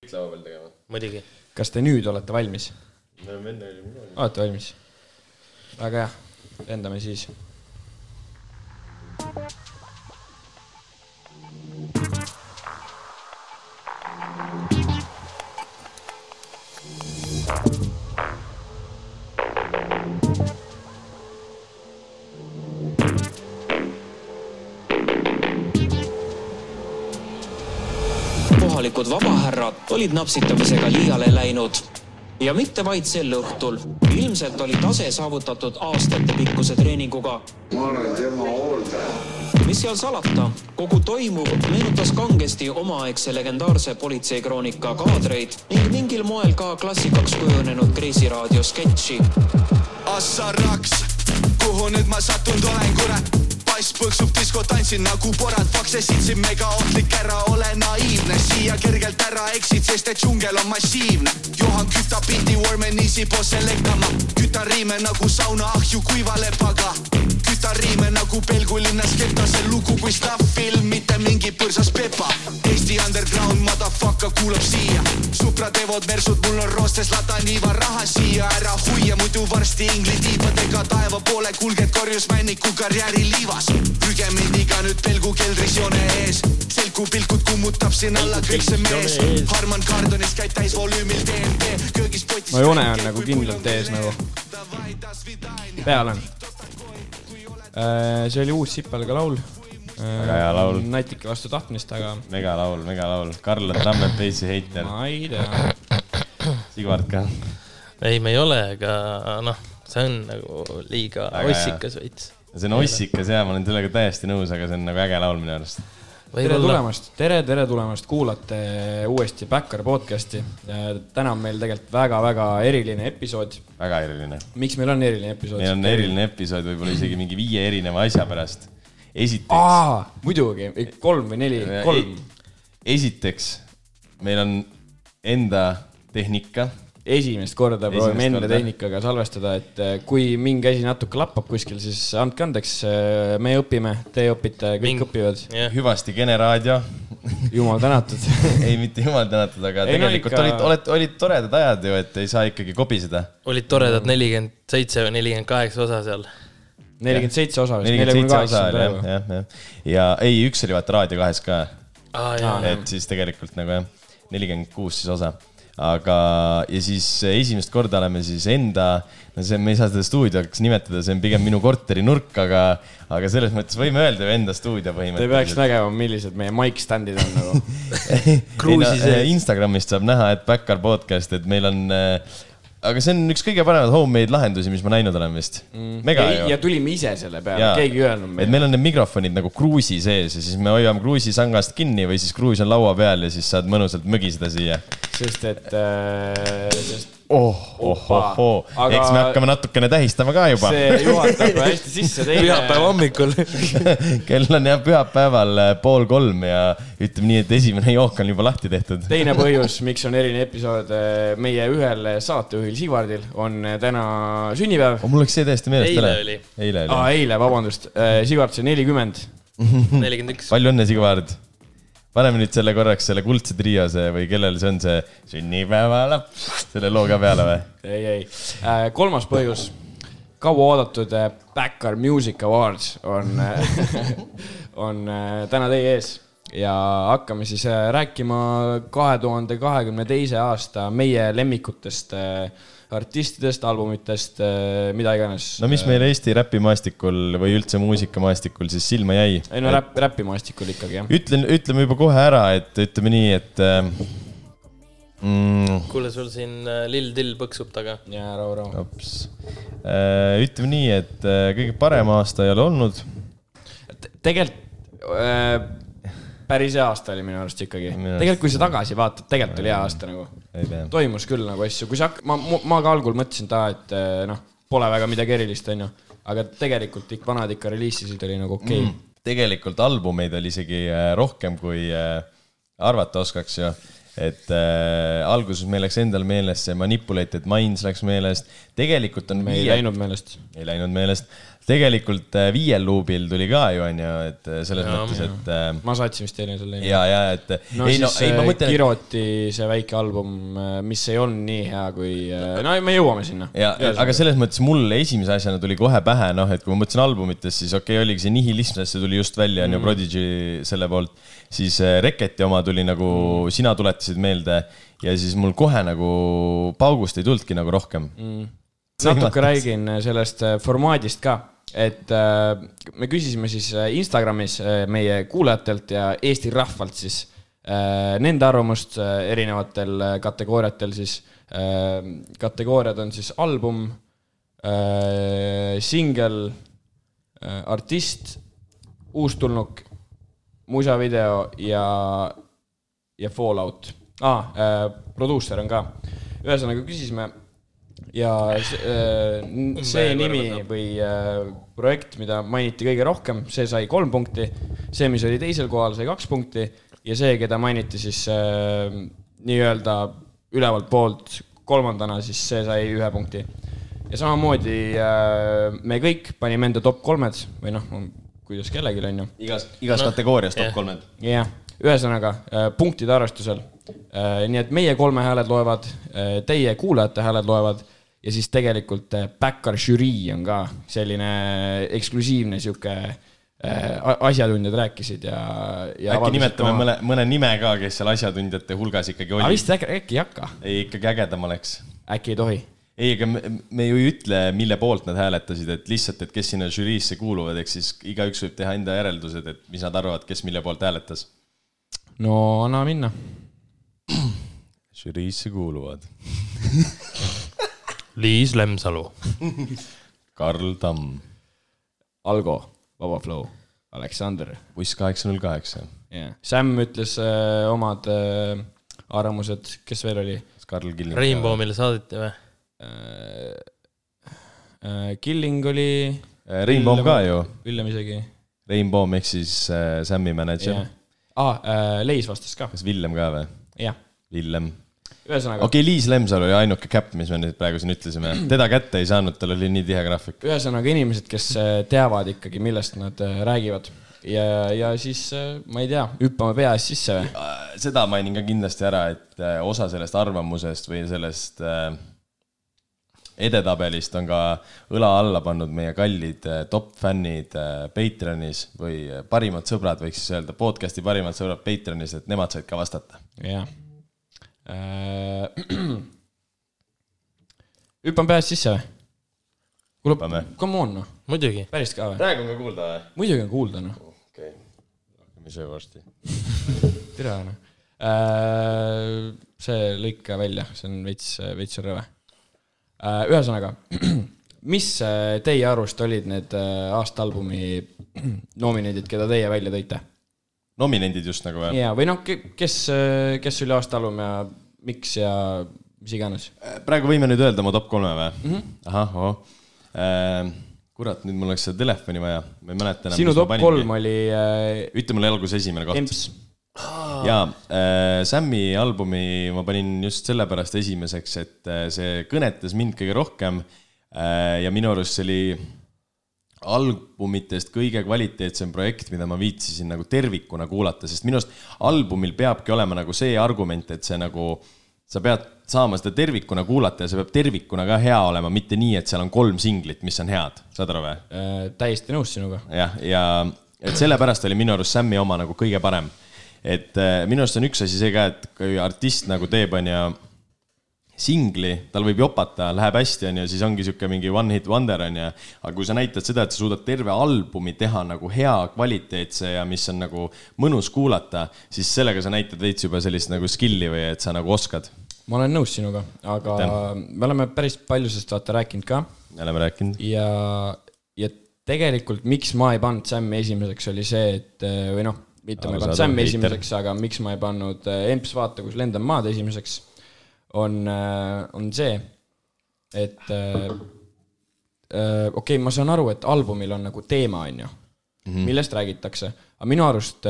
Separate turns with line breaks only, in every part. kõik laua peal tegema .
muidugi .
kas te nüüd olete valmis ?
me oleme enne olime ka .
olete valmis ? väga hea , lendame siis .
kohalikud vabahärrad olid napsitamisega liiale läinud ja mitte vaid sel õhtul . ilmselt oli tase saavutatud aastatepikkuse treeninguga .
ma olen tema hooldaja .
mis seal salata , kogu toimuv meenutas kangesti omaaegse legendaarse politseikroonika kaadreid ning mingil moel ka klassikaks kujunenud Kreisiraadio sketši
Assaraks , kuhu nüüd ma sattunud olen , kurat . pass põksub disko , tantsin nagu porad , faksesid siin mega ohtlik , ära ole naiivne , siia kergelt ära eksid , sest et džungel on massiivne . Johan kütab pildi Warmanisi poos selektama , kütan riime nagu sauna ahju kuiva lepaga . kütan riime nagu pelgulinna skeptase lugu kui Staff-film , mitte mingi põrsas pepa . Eesti underground motherfucker kuulab siia , sõprad Evod Versud , mul on roostes lada niiva raha siia , ära hoia , muidu varsti ingli tiibadega taeva poole kulged korjus männiku karjääri liivas . prüge mind iga nüüd pelgu keldris joone ees , selgu pilkud kummutab siin alla kõik see mees . Harman Kardonist käib täis volüümil DMT , köögis potis .
no joone on nagu kindlalt ees nagu , peal on . see oli uus Sipelga laul . väga
hea laul.
natuke vastu tahtmist , aga
megalaul , megalaul . Karl Tammep , Peipsi heiter ,
ma ei tea .
Sigvard ka .
ei , me ei ole , aga noh , see on nagu liiga
Väga hea.
ossikas veits .
see on ossikas ja ma olen sellega täiesti nõus , aga see on nagu äge laul minu arust .
tere . tulemast , tere , tere tulemast , kuulate uuesti Backyard podcast'i . täna on meil tegelikult väga-väga eriline episood .
väga eriline .
miks meil on eriline episood ?
meil on eriline episood võib-olla isegi mingi viie erineva asja pärast . esiteks ,
aa , muidugi , kolm või neli , kolm .
esiteks meil on enda tehnika
esimest korda proovime
Esimest
enda
korda.
tehnikaga salvestada , et eh, kui mingi asi natuke lappab kuskil , siis andke andeks , me õpime , te õpite , kõik Ming. õpivad .
jah ,
hüvasti Kene raadio .
jumal tänatud .
ei , mitte jumal tänatud , aga
Ei, no
tegelikult
ikka-
olid , olid , olid toredad ajad ju , et ei saa ikkagi kobiseda .
olid toredad nelikümmend seitse või nelikümmend kaheksa osa seal .
nelikümmend seitse osa vist ,
nelikümmend
neljakümne
seitse
kaheksa
osa oli jah ,
praegu .
jah , jah . ja ei , üks oli vaata Raadio kahes ka ,
aa jaa ,
et siis tegelikult nagu jah , nelikümmend kuus siis osa . aga , ja siis esimest korda oleme siis enda , no see , me ei saa seda stuudioks nimetada , see on pigem minu korteri nurk , aga , aga selles mõttes võime öelda ju enda stuudio
Te peaks
põhimõtteliselt .
nägema , millised meie mic stand'id on nagu .
Ei, no, eh, Instagramist saab näha , et Backyard podcast , et meil on äh, aga see on üks kõige paremaid homemade lahendusi , mis ma näinud olen vist mm. . mega ju .
ja tulime ise selle peale
Jaa. ,
keegi ei öelnud
et
meile .
meil on need mikrofonid nagu kruusi sees ja siis me hoiame kruusi sangast kinni või siis kruus on laua peal ja siis saad mõnusalt mögiseda siia .
sest et äh, , sest
oh , oh , oh , oh ,
Aga-
eks me hakkame natukene tähistama ka juba .
see juhatab hästi sisse
pühapäeva
teine .
hommikul .
kell on jah pühapäeval äh, pool kolm ja ütleme nii , et esimene jook on juba lahti tehtud .
teine põhjus , miks on eriline episood äh, meie ühel saatejuhil Sigvardil on äh, täna sünnipäev .
Oh, mul läks see täiesti meelest
Eile
ära .
oli.
eile
aa ,
oli .
eile , vabandust , Sigvard sai nelikümmend .
nelikümmend üks .
palju õnne , Sigvard . paneme nüüd selle korraks selle kuldse triose või kellel see on see sünnipäevalaps , selle loo ka peale või ?
ei , ei , kolmas põhjus , kauaoodatud äh, Backer Music Awards on , on äh, täna teie ees ja hakkame siis äh, rääkima kahe tuhande kahekümne teise aasta meie lemmikutest äh, artistidest , albumitest , mida iganes .
no mis meil Eesti räpimaastikul või üldse muusikamaastikul siis silma jäi ?
ei no räpp , räpimaastikul ikkagi jah .
ütlen , ütleme juba kohe ära , et ütleme nii , et ähm, mm, .
kuule , sul siin äh, lill till põksub taga .
jaa , rahu , rahu .
ops , ütleme nii , et äh, kõige parem aasta ei ole olnud .
tegelikult äh, päris hea aasta oli minu arust ikkagi .
Minu arust-
tegelikult , kui sa tagasi vaatad , tegelikult oli hea aasta nagu
ei tea ,
toimus küll nagu asju , kui sa hak- , ma , ma ka algul mõtlesin ta , et eh, noh , pole väga midagi erilist , onju . aga tegelikult ikka vanad ikka reliisisid oli nagu okei okay. mm. .
tegelikult albumeid oli isegi äh, rohkem , kui äh, arvata oskaks ju et äh, alguses meil läks endal meelest see Manipulated Minds läks meelest , tegelikult on
me ei
viie-
läinud meelest .
ei läinud meelest . tegelikult äh, viiel luubil tuli ka ju onju , et äh, selles
Jaa.
mõttes , et äh,
ma saatsin vist teile selle .
ja , ja et
no ei, siis äh, no, ei,
ma mõtlen ,
Kiroti see väike album , mis ei olnud nii hea , kui , no me jõuame sinna .
ja , aga selles mõttes mul esimese asjana tuli kohe pähe , noh , et kui ma mõtlesin albumitest , siis okei okay, , oligi see nihilism , sest see tuli just välja , on ju , Prodigy selle poolt . siis äh, Reketi oma tuli nagu mm. , sina tuletasid meelde ja siis mul kohe nagu paugust ei tulnudki nagu rohkem mm. .
natuke . räägin sellest äh, formaadist ka , et äh, me küsisime siis äh, Instagramis äh, meie kuulajatelt ja Eesti rahvalt siis äh, nende arvamust äh, erinevatel äh, kategooriatel siis . kategooriad on siis album , singel , äh, artist , uustulnuk , muisavideo ja ja Fallout ah, , produusser on ka . ühesõnaga küsisime ja see, äh, n- see nimi või äh, projekt , mida mainiti kõige rohkem , see sai kolm punkti . see , mis oli teisel kohal , sai kaks punkti ja see , keda mainiti siis äh, nii-öelda ülevalt poolt kolmandana , siis see sai ühe punkti . ja samamoodi äh, me kõik panime enda top kolmed või noh , kuidas kellelgi onju
igas , igas no, kategoorias top kolmed .
jah , ühesõnaga äh, punktide arvestusel . nii et meie kolme hääled loevad , teie kuulajate hääled loevad ja siis tegelikult äh, backer žürii on ka selline äh, eksklusiivne sihuke , asjatundjad rääkisid ja, ja .
äkki nimetame mõne , mõne nime ka , kes seal asjatundjate hulgas ikkagi
aga
oli .
vist äkki , äkki ei hakka ,
ei , ikkagi ägedam oleks .
äkki ei tohi .
ei , ega me, me ju ei ütle , mille poolt nad hääletasid , et lihtsalt , et kes sinna žüriisse kuuluvad , ehk siis igaüks võib teha enda järeldused , et mis nad arvavad , kes mille poolt hääletas .
no anna minna .
žüriisse kuuluvad
Liis Lemsalu ,
Karl Tamm ,
Algo , Vaba Flow , Aleksander
buss kaheksa null kaheksa .
yeah. . Sam ütles äh, omad äh, arvamused , kes veel oli
Karl Killing .
Rein . Poomile saadeti või ?
äh, . Äh, Killing oli .
Äh, Rein Poom ka ju ,
Villem isegi .
Rein Poom ehk siis äh, Sämmi mänedžer
jah
yeah. ..
aa äh, , Leis vastas ka ,
kas Villem ka või ?
jah .
Villem
ühesõnaga okay. ,
okei okay, , Liis Lemsalu oli ainuke käpp , mis me nüüd praegu siin ütlesime , teda kätte ei saanud , tal oli nii tihe graafik .
ühesõnaga inimesed , kes äh, teavad ikkagi , millest nad äh, räägivad ja , ja siis äh, ma ei tea , hüppame pea ees sisse või ?
Äh, seda mainin ka kindlasti ära , et äh, osa sellest arvamusest või sellest äh, edetabelist on ka õla alla pannud meie kallid äh, top fännid äh, Patreonis või äh, parimad sõbrad , võiks siis öelda , podcast'i parimad sõbrad Patreonis , et nemad said ka vastata .
jah äh, . hüppame pea ees sisse või ? kuule
Hüppame. ,
come on noh ,
muidugi ,
päris ka või ?
praegu on ka kuulda või ?
muidugi on kuulda noh ,
okei okay. , hakkame ise varsti .
tere noh äh, . see lõika välja , see on veits , veits on rõve Äh, ühesõnaga , mis äh, teie arust olid need äh, aastaalbumi nominendid , keda teie välja tõite ?
nominendid just nagu või ?
ja , või noh , kes , kes oli aastaalbum ja miks ja mis iganes .
praegu võime nüüd öelda oma top kolme või mm
Mhm.
-hmm. ? ahah , oo ehm, . kurat , nüüd mul oleks seda telefoni vaja , ma ei mäleta enam .
sinu top kolm oli äh,
ütle mulle alguses esimene koht .
Emps .
jaa , Sammi albumi ma panin just sellepärast esimeseks , et äh, see kõnetas mind kõige rohkem äh, ja minu arust see oli albumitest kõige kvaliteetsem projekt , mida ma viitsisin nagu tervikuna kuulata , sest minu arust albumil peabki olema nagu see argument , et see nagu , sa pead saama seda tervikuna kuulata ja see peab tervikuna ka hea olema , mitte nii , et seal on kolm singlit , mis on head , saad aru või ?
Äh, täiesti nõus sinuga .
jah , ja et sellepärast oli minu arust Sammi oma nagu kõige parem . et äh, minu arust on üks asi see ka , et kui artist nagu teeb , onju , singli , tal võib jopata , läheb hästi , onju , siis ongi sihuke mingi one hit wonder , onju . aga kui sa näitad seda , et sa suudad terve albumi teha nagu hea , kvaliteetse ja mis on nagu mõnus kuulata , siis sellega sa näitad veits juba sellist nagu skill'i või et sa nagu oskad .
ma olen nõus sinuga , aga me oleme päris palju sellest vaata rääkinud ka
me oleme rääkinud .
ja , ja tegelikult , miks ma ei pannud Sam'i esimeseks , oli see , et äh, või noh , mitte ma ei pannud
Arusaadav,
Sam'i
heitel.
esimeseks , aga miks ma ei pannud äh, Emps Vaata , kus lendan maad esimeseks , on , on see , et äh, äh, okei okay, , ma saan aru , et albumil on nagu teema , on ju . Mm
Mhm.
-hmm. millest räägitakse , aga minu arust ,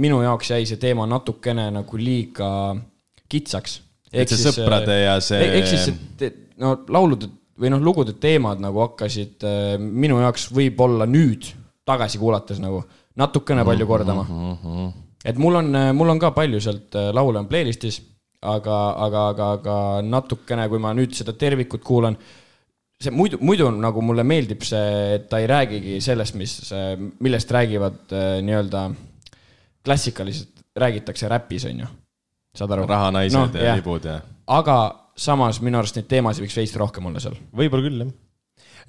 minu jaoks jäi see teema natukene nagu liiga kitsaks . äh,
Et see sõprade ja see-
e-, ehk siis , et no laulude või noh , lugude teemad nagu hakkasid äh, minu jaoks võib-olla nüüd tagasi kuulates nagu natukene
Mhm,
palju kordama . et mul on , mul on ka palju sealt äh, laule on playlist'is , aga , aga , aga , aga natukene , kui ma nüüd seda tervikut kuulan , see muidu , muidu on nagu mulle meeldib see , et ta ei räägigi sellest , mis , millest räägivad äh, nii-öelda klassikaliselt räägitakse räpis , on ju . saad aru ?
raha , naised no, ja libud ja .
aga samas minu arust neid teemasid võiks veits rohkem olla seal .
võib-olla küll , jah .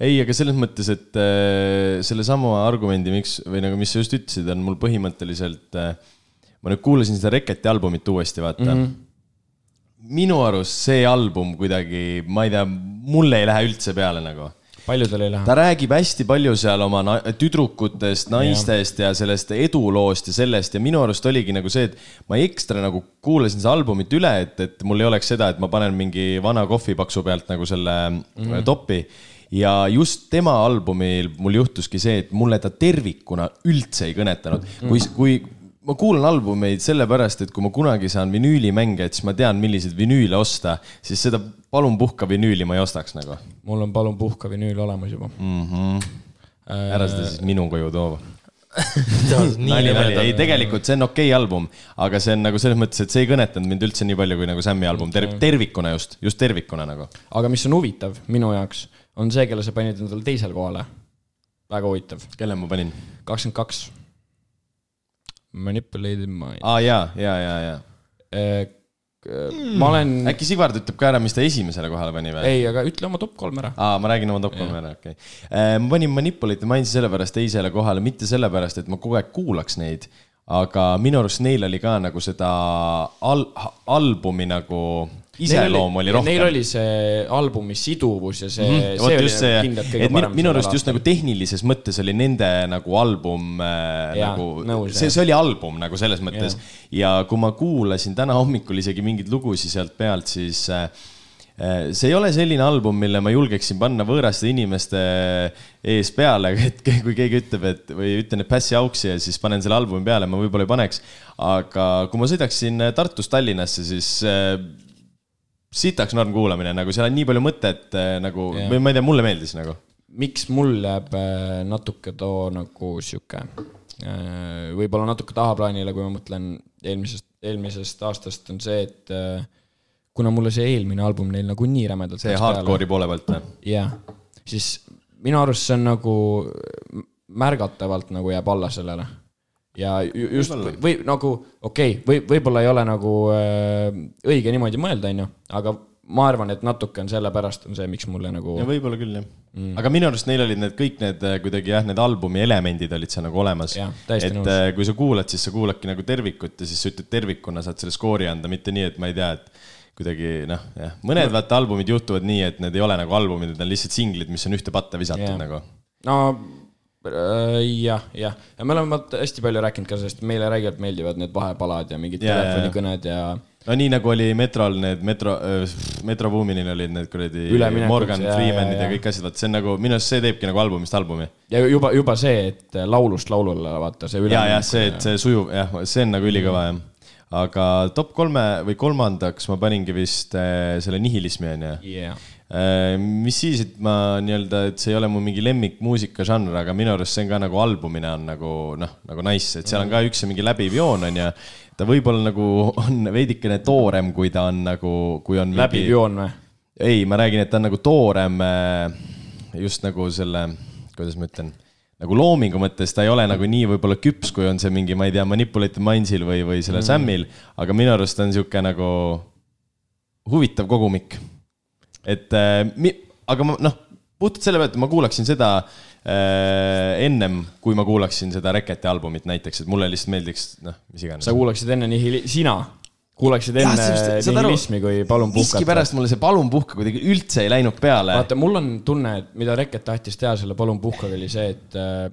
ei , aga selles mõttes , et äh, sellesama argumendi , miks või nagu , mis sa just ütlesid , on mul põhimõtteliselt äh, . ma nüüd kuulasin seda Reketi albumit uuesti , vaata mm . -hmm. minu arust see album kuidagi , ma ei tea , mulle ei lähe üldse peale nagu
paljudel ei lähe .
ta räägib hästi palju seal oma na- tüdrukutest , naistest ja sellest eduloost ja sellest ja minu arust oligi nagu see , et ma ekstra nagu kuulasin seda albumit üle , et , et mul ei oleks seda , et ma panen mingi vana kohvipaksu pealt nagu selle mm. topi ja just tema albumil mul juhtuski see , et mulle ta tervikuna üldse ei kõnetanud , kui , kui ma kuulan albumeid sellepärast , et kui ma kunagi saan vinüülimänge , et siis ma tean , milliseid vinüüle osta , siis seda palun puhka vinüüli ma ei ostaks nagu .
mul on palun puhka vinüül olemas juba mm. .
Mhm.
Äh,
ära seda siis minu koju too . nali , nali , ei
nii
tegelikult see on okei album , aga see on nagu selles mõttes , et see ei kõnetanud mind üldse nii palju kui nagu Sammi album ter tervikuna just , just tervikuna nagu .
aga mis on huvitav minu jaoks , on see , kelle sa panid endale teisele kohale . väga huvitav .
kelle ma panin ?
kakskümmend kaks . Manipulated mind .
aa jaa , jaa , jaa , jaa .
Eh, ma olen ,
Hmm. äkki Sigvard ütleb ka ära , mis ta esimesele kohale pani või ?
Mm. ei , aga ütle oma top kolm ära .
aa , ma räägin oma top kolme ära , okei . ma panin Manipulate Mindsi sellepärast teisele kohale , mitte sellepärast , et ma kogu aeg kuulaks neid , aga minu arust neil oli ka nagu seda al- , albumi nagu iseloom oli rohkem .
Neil oli see albumi siduvus ja see
Mhm,
mm, ,
vot
see oli
just see,
see, kindlalt kõige
et minu,
parem .
minu arust just nagu tehnilises mõttes oli nende nagu album äh,
Jaa,
nagu ,
nõus,
see ,
jah.
see oli album nagu selles mõttes . ja kui ma kuulasin täna hommikul isegi mingeid lugusid sealt pealt , siis äh, äh, see ei ole selline album , mille ma julgeksin panna võõraste inimeste äh, ees peale , et ke- kui keegi ütleb , et või ütlen , et passi auksi ja siis panen selle albumi peale , ma võib-olla ei paneks . aga kui ma sõidaksin äh, Tartust Tallinnasse , siis äh, sitaks norm kuulamine , nagu seal on nii palju mõtet äh, nagu yeah. , või ma ei tea , mulle meeldis nagu .
miks mul jääb äh, natuke too nagu sihuke äh, võib-olla natuke tahaplaanile , kui ma mõtlen eelmisest , eelmisest aastast on see , et äh, kuna mulle see eelmine album neil nagunii rämedalt
see hardcore'i poole pealt või ?
jah , siis minu arust see on nagu märgatavalt nagu jääb alla sellele . ja ju- just või, või nagu okei okay, , või võib-olla ei ole nagu äh, õige niimoodi mõelda , onju , aga ma arvan , et natuke on sellepärast on see , miks mulle nagu
ja võib-olla küll jah mm. . aga minu arust neil olid need kõik need äh, kuidagi jah , need albumi elemendid olid seal nagu olemas .
Jah, täiesti
et
nõus.
äh, kui sa kuulad , siis sa kuuladki nagu tervikut ja siis sa ütled tervikuna saad selle skoori anda , mitte nii , et ma ei tea , et kuidagi noh , jah , mõned vaata albumid juhtuvad nii , et need ei ole nagu albumid , need on lihtsalt singlid , mis on ühte patta visatud
Jah.
yeah. nagu .
no äh, jah , jah , ja me oleme vaata hästi palju rääkinud ka sellest , meile räigelt meeldivad need vahepalad ja mingid
Jaa, jaa,
telefonikõned ja
no nii nagu oli Metrol need Metro , Metro Boominil olid need kuradi
Üleminekud,
Morgan
jaa,
Freemanid
jaa,
ja
jaa.
kõik asjad , vot see on nagu minu arust see teebki nagu albumist albumi
ja juba , juba see , et laulust laulule vaata see üle
ja , ja see , et see sujuv jah , see on nagu ülikõva jah . aga top kolme või kolmandaks ma paningi vist äh, selle nihilismi onju
yeah. .
Äh, mis siis , et ma nii-öelda , et see ei ole mu mingi lemmikmuusikažanr , aga minu arust see on ka nagu albumina on nagu noh , nagu nice , et seal on ka
Mhm.
üks mingi läbiv joon on ju . ta võib-olla nagu on veidikene toorem , kui ta on nagu , kui on .
läbiv joon või ?
ei , ma räägin , et ta on nagu toorem äh, just nagu selle , kuidas ma ütlen , nagu loomingu mõttes ta ei ole nagu nii võib-olla küps , kui on see mingi , ma ei tea , Manipulated Mindsil või , või selle mm. Samil , aga minu arust on niisugune nagu huvitav kogumik . et äh, mi, aga ma noh , puhtalt selle pealt ma kuulaksin seda äh, ennem , kui ma kuulaksin seda Reketi albumit näiteks , et mulle lihtsalt meeldiks , noh , mis iganes
sa . kuulaksid enne nihili- , sina kuulaksid
Jah,
enne
sest- saad aru,
nihilismi , kui palun puhkata .
miskipärast mulle see Palun puhka kuidagi üldse ei läinud peale .
vaata , mul on tunne , et mida Reket tahtis teha selle Palun puhkaga oli see , et äh,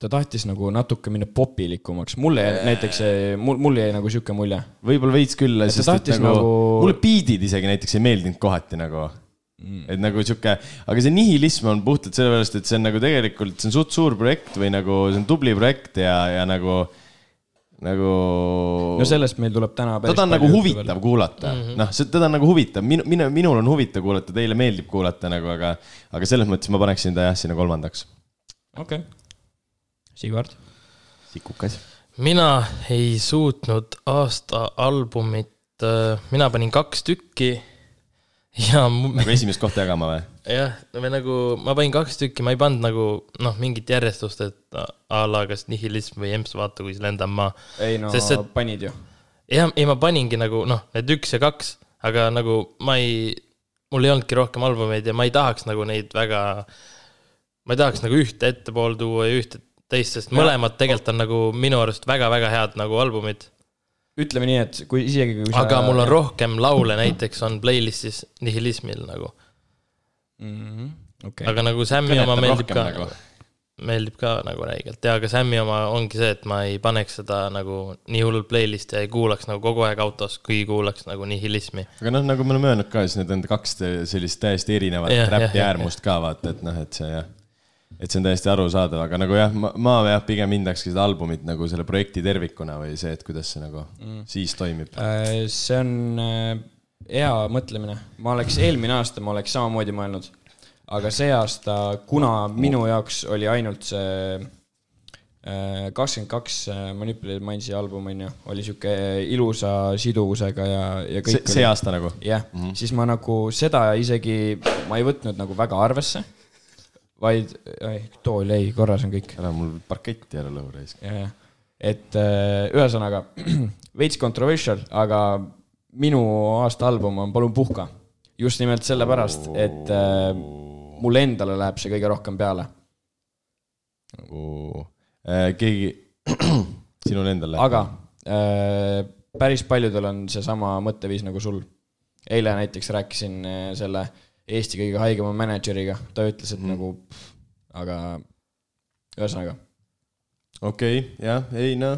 ta tahtis nagu natuke minna popilikumaks , mulle jäi- näiteks , mul , mul jäi nagu sihuke mulje
võib-olla veits küll ,
ta
sest et
tahtis
nagu, nagu...
nagu-
mulle biidid isegi näiteks ei meeldinud kohati nagu mm. . et nagu sihuke , aga see nihilism on puhtalt sellepärast , et see on nagu tegelikult , see on suht suur projekt või nagu see on tubli projekt ja , ja nagu nagu .
no sellest meil tuleb täna päris
teda on nagu
palju juttu
huvitav kuulata mm -hmm. , noh , teda on nagu huvitav , minu , minu , minul on huvitav kuulata , teile meeldib kuulata nagu , aga , aga selles mõttes ma paneksin ta jah , sinna kolmandaks .
veel. okei okay. . Sigvard .
sikukas .
mina ei suutnud aasta albumit , mina panin kaks tükki ja mu-
nagu esimest kohta jagama või ?
jah , või nagu ma panin kaks tükki , ma ei pannud nagu noh , mingit järjestust , et a la kas nihilism või emps , vaata kui siis lendan ma .
ei no
Sest
see...
et-
panid ju .
ja , ja ma paningi nagu noh , need üks ja kaks , aga nagu ma ei , mul ei olnudki rohkem albumeid ja ma ei tahaks nagu neid väga , ma ei tahaks nagu ühte ettepool tuua ja ühte teist , sest mõlemad tegelikult on nagu minu arust väga-väga head nagu albumid .
ütleme nii , et kui isegi kui
aga mul on rohkem laule näiteks on playlist'is nihilismil nagu ,
rohkem . okei .
aga nagu Sammi oma meeldib ka nagu. . meeldib ka nagu räigelt ja , aga Sammi oma ongi see , et ma ei paneks seda nagu nii hullult playlist'i ja ei kuulaks nagu kogu aeg autos , kui kuulaks nagu nihilismi .
aga noh , nagu me oleme öelnud ka , siis need on kaks te- sellist täiesti erinevat
Jah, jah,
räpi
jah,
äärmust ka vaata , et noh , et see jah , et see on täiesti arusaadav , aga nagu jah , ma, ma jah , pigem hindakski seda albumit nagu selle projekti tervikuna või see , et kuidas see nagu mm. siis toimib .
see on äh, hea mõtlemine , ma oleks eelmine aasta , ma oleks samamoodi mõelnud , aga see aasta , kuna minu jaoks oli ainult see äh, kakskümmend kaks äh, Manipulated Mindsi album onju , oli sihuke ilusa siduvusega ja , ja kõik
see , see aasta nagu
jah mm , -hmm. siis ma nagu seda isegi , ma ei võtnud nagu väga arvesse , vaid , tool jäi , korras on kõik .
ära mul parketti ära lõhu raisk .
et äh, ühesõnaga veits controversial , aga minu aasta album on Palun puhka . just nimelt sellepärast , et äh, mulle endale läheb see kõige rohkem peale ,
Nagu-
Äh, keegi , sinul endal läheb ?
aga äh, päris paljudel on seesama mõtteviis nagu sul . eile näiteks rääkisin äh, selle Eesti kõige haigema mänedžeriga , ta ütles , et mm. nagu , aga ühesõnaga
okei okay, , jah , ei noh ,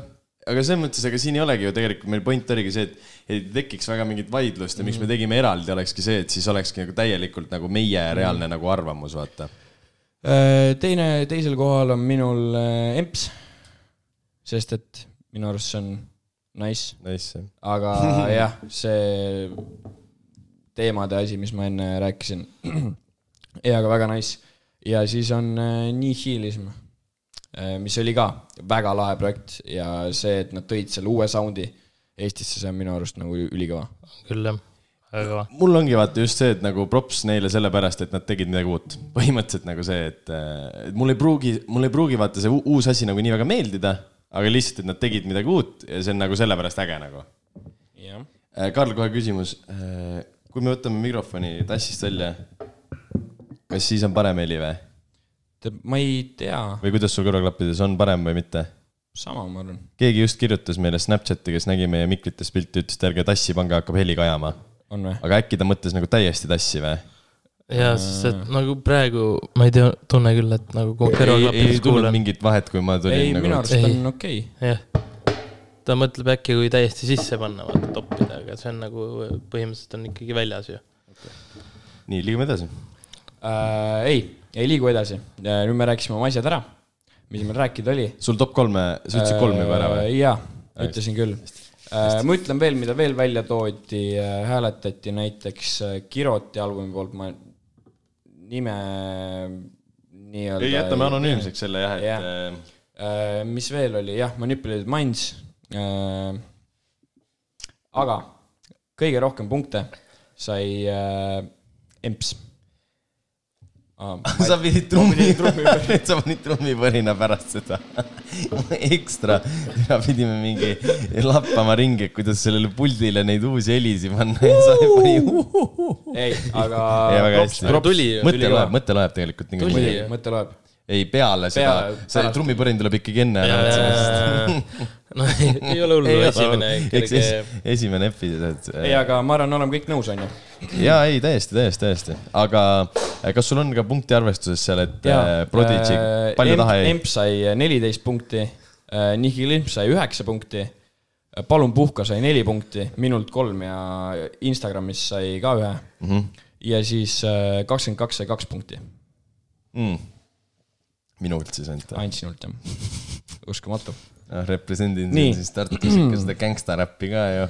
aga selles mõttes , ega siin ei olegi ju tegelikult meil point oligi see , et , et ei tekiks väga mingit vaidlust ja miks me tegime eraldi , olekski see , et siis olekski nagu täielikult nagu meie reaalne nagu arvamus , vaata .
Äh, teine , teisel kohal on minul äh, emps , sest et minu arust see on nice ,
Nice .
aga jah , see teemade asi , mis ma enne rääkisin . ei , aga väga nice . ja siis on äh, nihilism , mis oli ka väga lahe projekt ja see , et nad tõid selle uue soundi Eestisse , see on minu arust nagu ülikõva .
küll jah , väga kõva .
mul ongi vaata just see , et nagu props neile sellepärast , et nad tegid midagi uut . põhimõtteliselt nagu see , et äh, et mul ei pruugi , mul ei pruugi vaata see u- uus asi nagu nii väga meeldida , aga lihtsalt , et nad tegid midagi uut ja see on nagu sellepärast äge nagu
jah .
Äh, Karl , kohe küsimus . kui me võtame mikrofoni tassist välja , kas siis on parem heli või ?
ma ei tea ,
või kuidas sul kõrvaklappides on parem või mitte ?
sama ma arvan .
keegi just kirjutas meile Snapchati , kes nägi meie mikrites pilti , ütles , et ärge tassi pange , hakkab heli kajama .
on või ?
aga äkki ta mõtles nagu täiesti tassi või ?
ja sest , et nagu praegu ma ei tea , tunne küll , et nagu kui ma
ei , ei
kõrvaklappides
tulnud
kuulan ,
mingit vahet , kui ma tulin
ei ,
nagu
minu arust
Ei.
on okei okay.
jah . ta mõtleb äkki , kui täiesti sisse panna , vaata toppida , aga see on nagu põhimõtteliselt on ikkagi väljas ju .
nii , liigume edasi .
äh, . ei , ei liigu edasi . nüüd me rääkisime oma asjad ära , mis meil rääkida oli .
sul top kolme , sa ütlesid kolm juba ära või ??
Äh, jaa , ütlesin küll . ma ütlen veel , mida veel välja toodi , hääletati näiteks äh, Kiroti albumi poolt , ma nime nii-öelda .
ei , jätame . anonüümseks selle jah ,
Jah.
et äh,
mis veel oli , jah , Manipulated Minds . aga kõige rohkem punkte sai äh, Ah, Emps .
sa pidid trummi , sa panid trummipõrina pärast seda ekstra . täna pidime mingi lappama ringi , et kuidas sellele puldile neid uusi helisid panna ja sa ei pani uhuhu .
ei , aga
ei , väga hästi .
tuli ju.
mõte
Tuli
loeb ,
ka.
mõte loeb tegelikult .
Tuli
ei ,
ju.
mõte loeb .
peale seda
Peale, ,
see
pärast.
trummipõrin tuleb ikkagi enne ära otsa
no ei, ei ole hullu , esimene
eks
kerge
es- esimene episood .
ei , aga ma arvan , oleme kõik nõus , onju .
ja ei , täiesti , täiesti , täiesti , aga äh, kas sul on ka punkti arvestuses seal , et äh, Prodigy , palju taha jäi ?
emp sai äh, neliteist punkti , Nihilimp sai üheksa punkti , Palun puhka sai neli punkti , minult kolm ja Instagramis sai ka ühe mm .
Mhm.
-hmm. ja siis äh, kakskümmend kaks sai kaks punkti ,
mm. . minult siis ainult .
ainult sinult jah . uskumatu .
noh , represendin
Nii.
siin siis Tartus ikka seda gängstaräppi ka ju .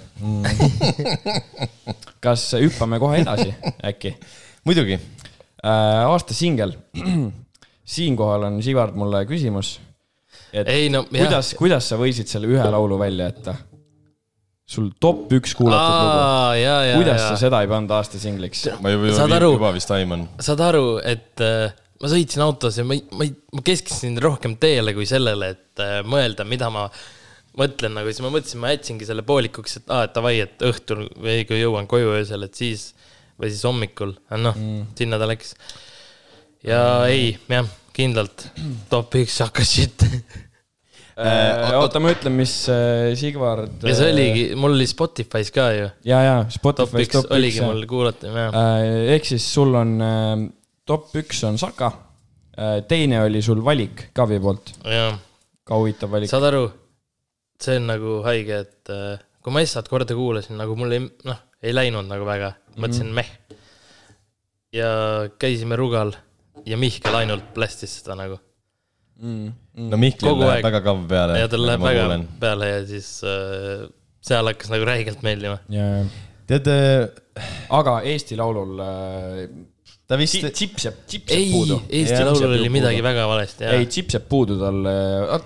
kas äh, hüppame kohe edasi äkki ?
muidugi ,
aasta singel . siinkohal on Sivard mulle küsimus . et
Ei, no, jah.
kuidas , kuidas sa võisid selle ühe laulu välja jätta ? sul top üks kuulatud lugu .
aa , ja , ja ,
nagu. kuidas sa
ja .
seda ei pannud aasta singliks ?
ma juba ,
Saad
juba,
aru?
juba vist aiman .
saad aru , et äh, ma sõitsin autos ja ma ei , ma ei , ma keskendusin rohkem teele kui sellele , et äh, mõelda , mida ma mõtlen nagu , siis ma mõtlesin , ma jätsingi selle poolikuks , et aa , et davai , et õhtul või kui jõuan koju öösel , et siis või siis hommikul , noh mm. , sinna ta läks . ja mm. ei , jah , kindlalt top üks hakkas shit .
Äh, oota , ma ütlen , mis äh, Sigvard .
ja see oligi , mul oli Spotify's ka ju ,
ja , ja
top
Spotify's
üks
top üks
oligi . mul kuulata , jah .
ehk siis sul on äh, top üks on Saka , teine oli sul valik Kavi poolt ,
jah
ka huvitav valik .
saad aru , see on nagu haige , et äh, kui ma Essat korda kuulasin , nagu mul ei , noh , ei läinud nagu väga , mõtlesin
Mhm.
mm -hmm. meh . ja käisime Rugal ja Mihkel ainult plästis seda nagu
no Mihklil
Mm, Kogu
läheb
aeg.
väga kav peale . nagu
ja tal läheb väga . peale ja siis äh, seal hakkas nagu räigelt meeldima .
ja ,
tead ,
aga Eesti Laulul äh,
ta vist
ti- , tips jääb , tips jääb
ei
puudu .,
Eesti
Jah,
Laulul
see
oli
peab
midagi
kuulama.
väga valesti ,
ei ,
jah .
tips jääb puudu tal ,